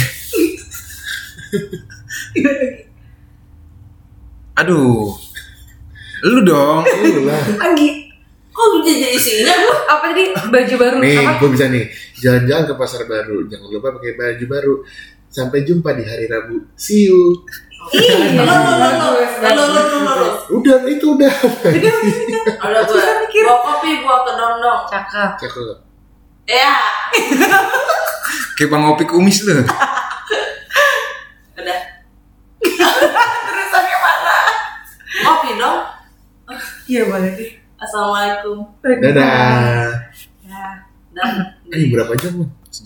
Speaker 4: Gimana gitu?
Speaker 2: Aduh Lu dong
Speaker 1: Lu lah.
Speaker 4: Anggi.
Speaker 3: Kok bisa jadi isinya gue?
Speaker 4: Apa tadi? Baju baru
Speaker 1: Nih,
Speaker 4: apa?
Speaker 1: gue bisa nih. Jalan-jalan ke pasar baru. Jangan lupa pakai baju baru. Sampai jumpa di hari Rabu. See you.
Speaker 4: Iya.
Speaker 3: Lo, lo, lo, lo, lo, lo, lo, lo.
Speaker 1: Udah, itu udah.
Speaker 4: Udah, udah, udah.
Speaker 3: Ada gue.
Speaker 4: Susah mikir.
Speaker 3: Bawa kopi, bawa ke dondong.
Speaker 4: Cakep.
Speaker 1: Cakep.
Speaker 3: Ya,
Speaker 2: Kayak Bang Opik Umis lu
Speaker 3: udah. Terusannya mana? Kopi dong.
Speaker 4: Iya boleh deh.
Speaker 3: Assalamualaikum.
Speaker 1: Dadah.
Speaker 4: Ya.
Speaker 3: Dan
Speaker 1: Eh, berapa jam? Mon?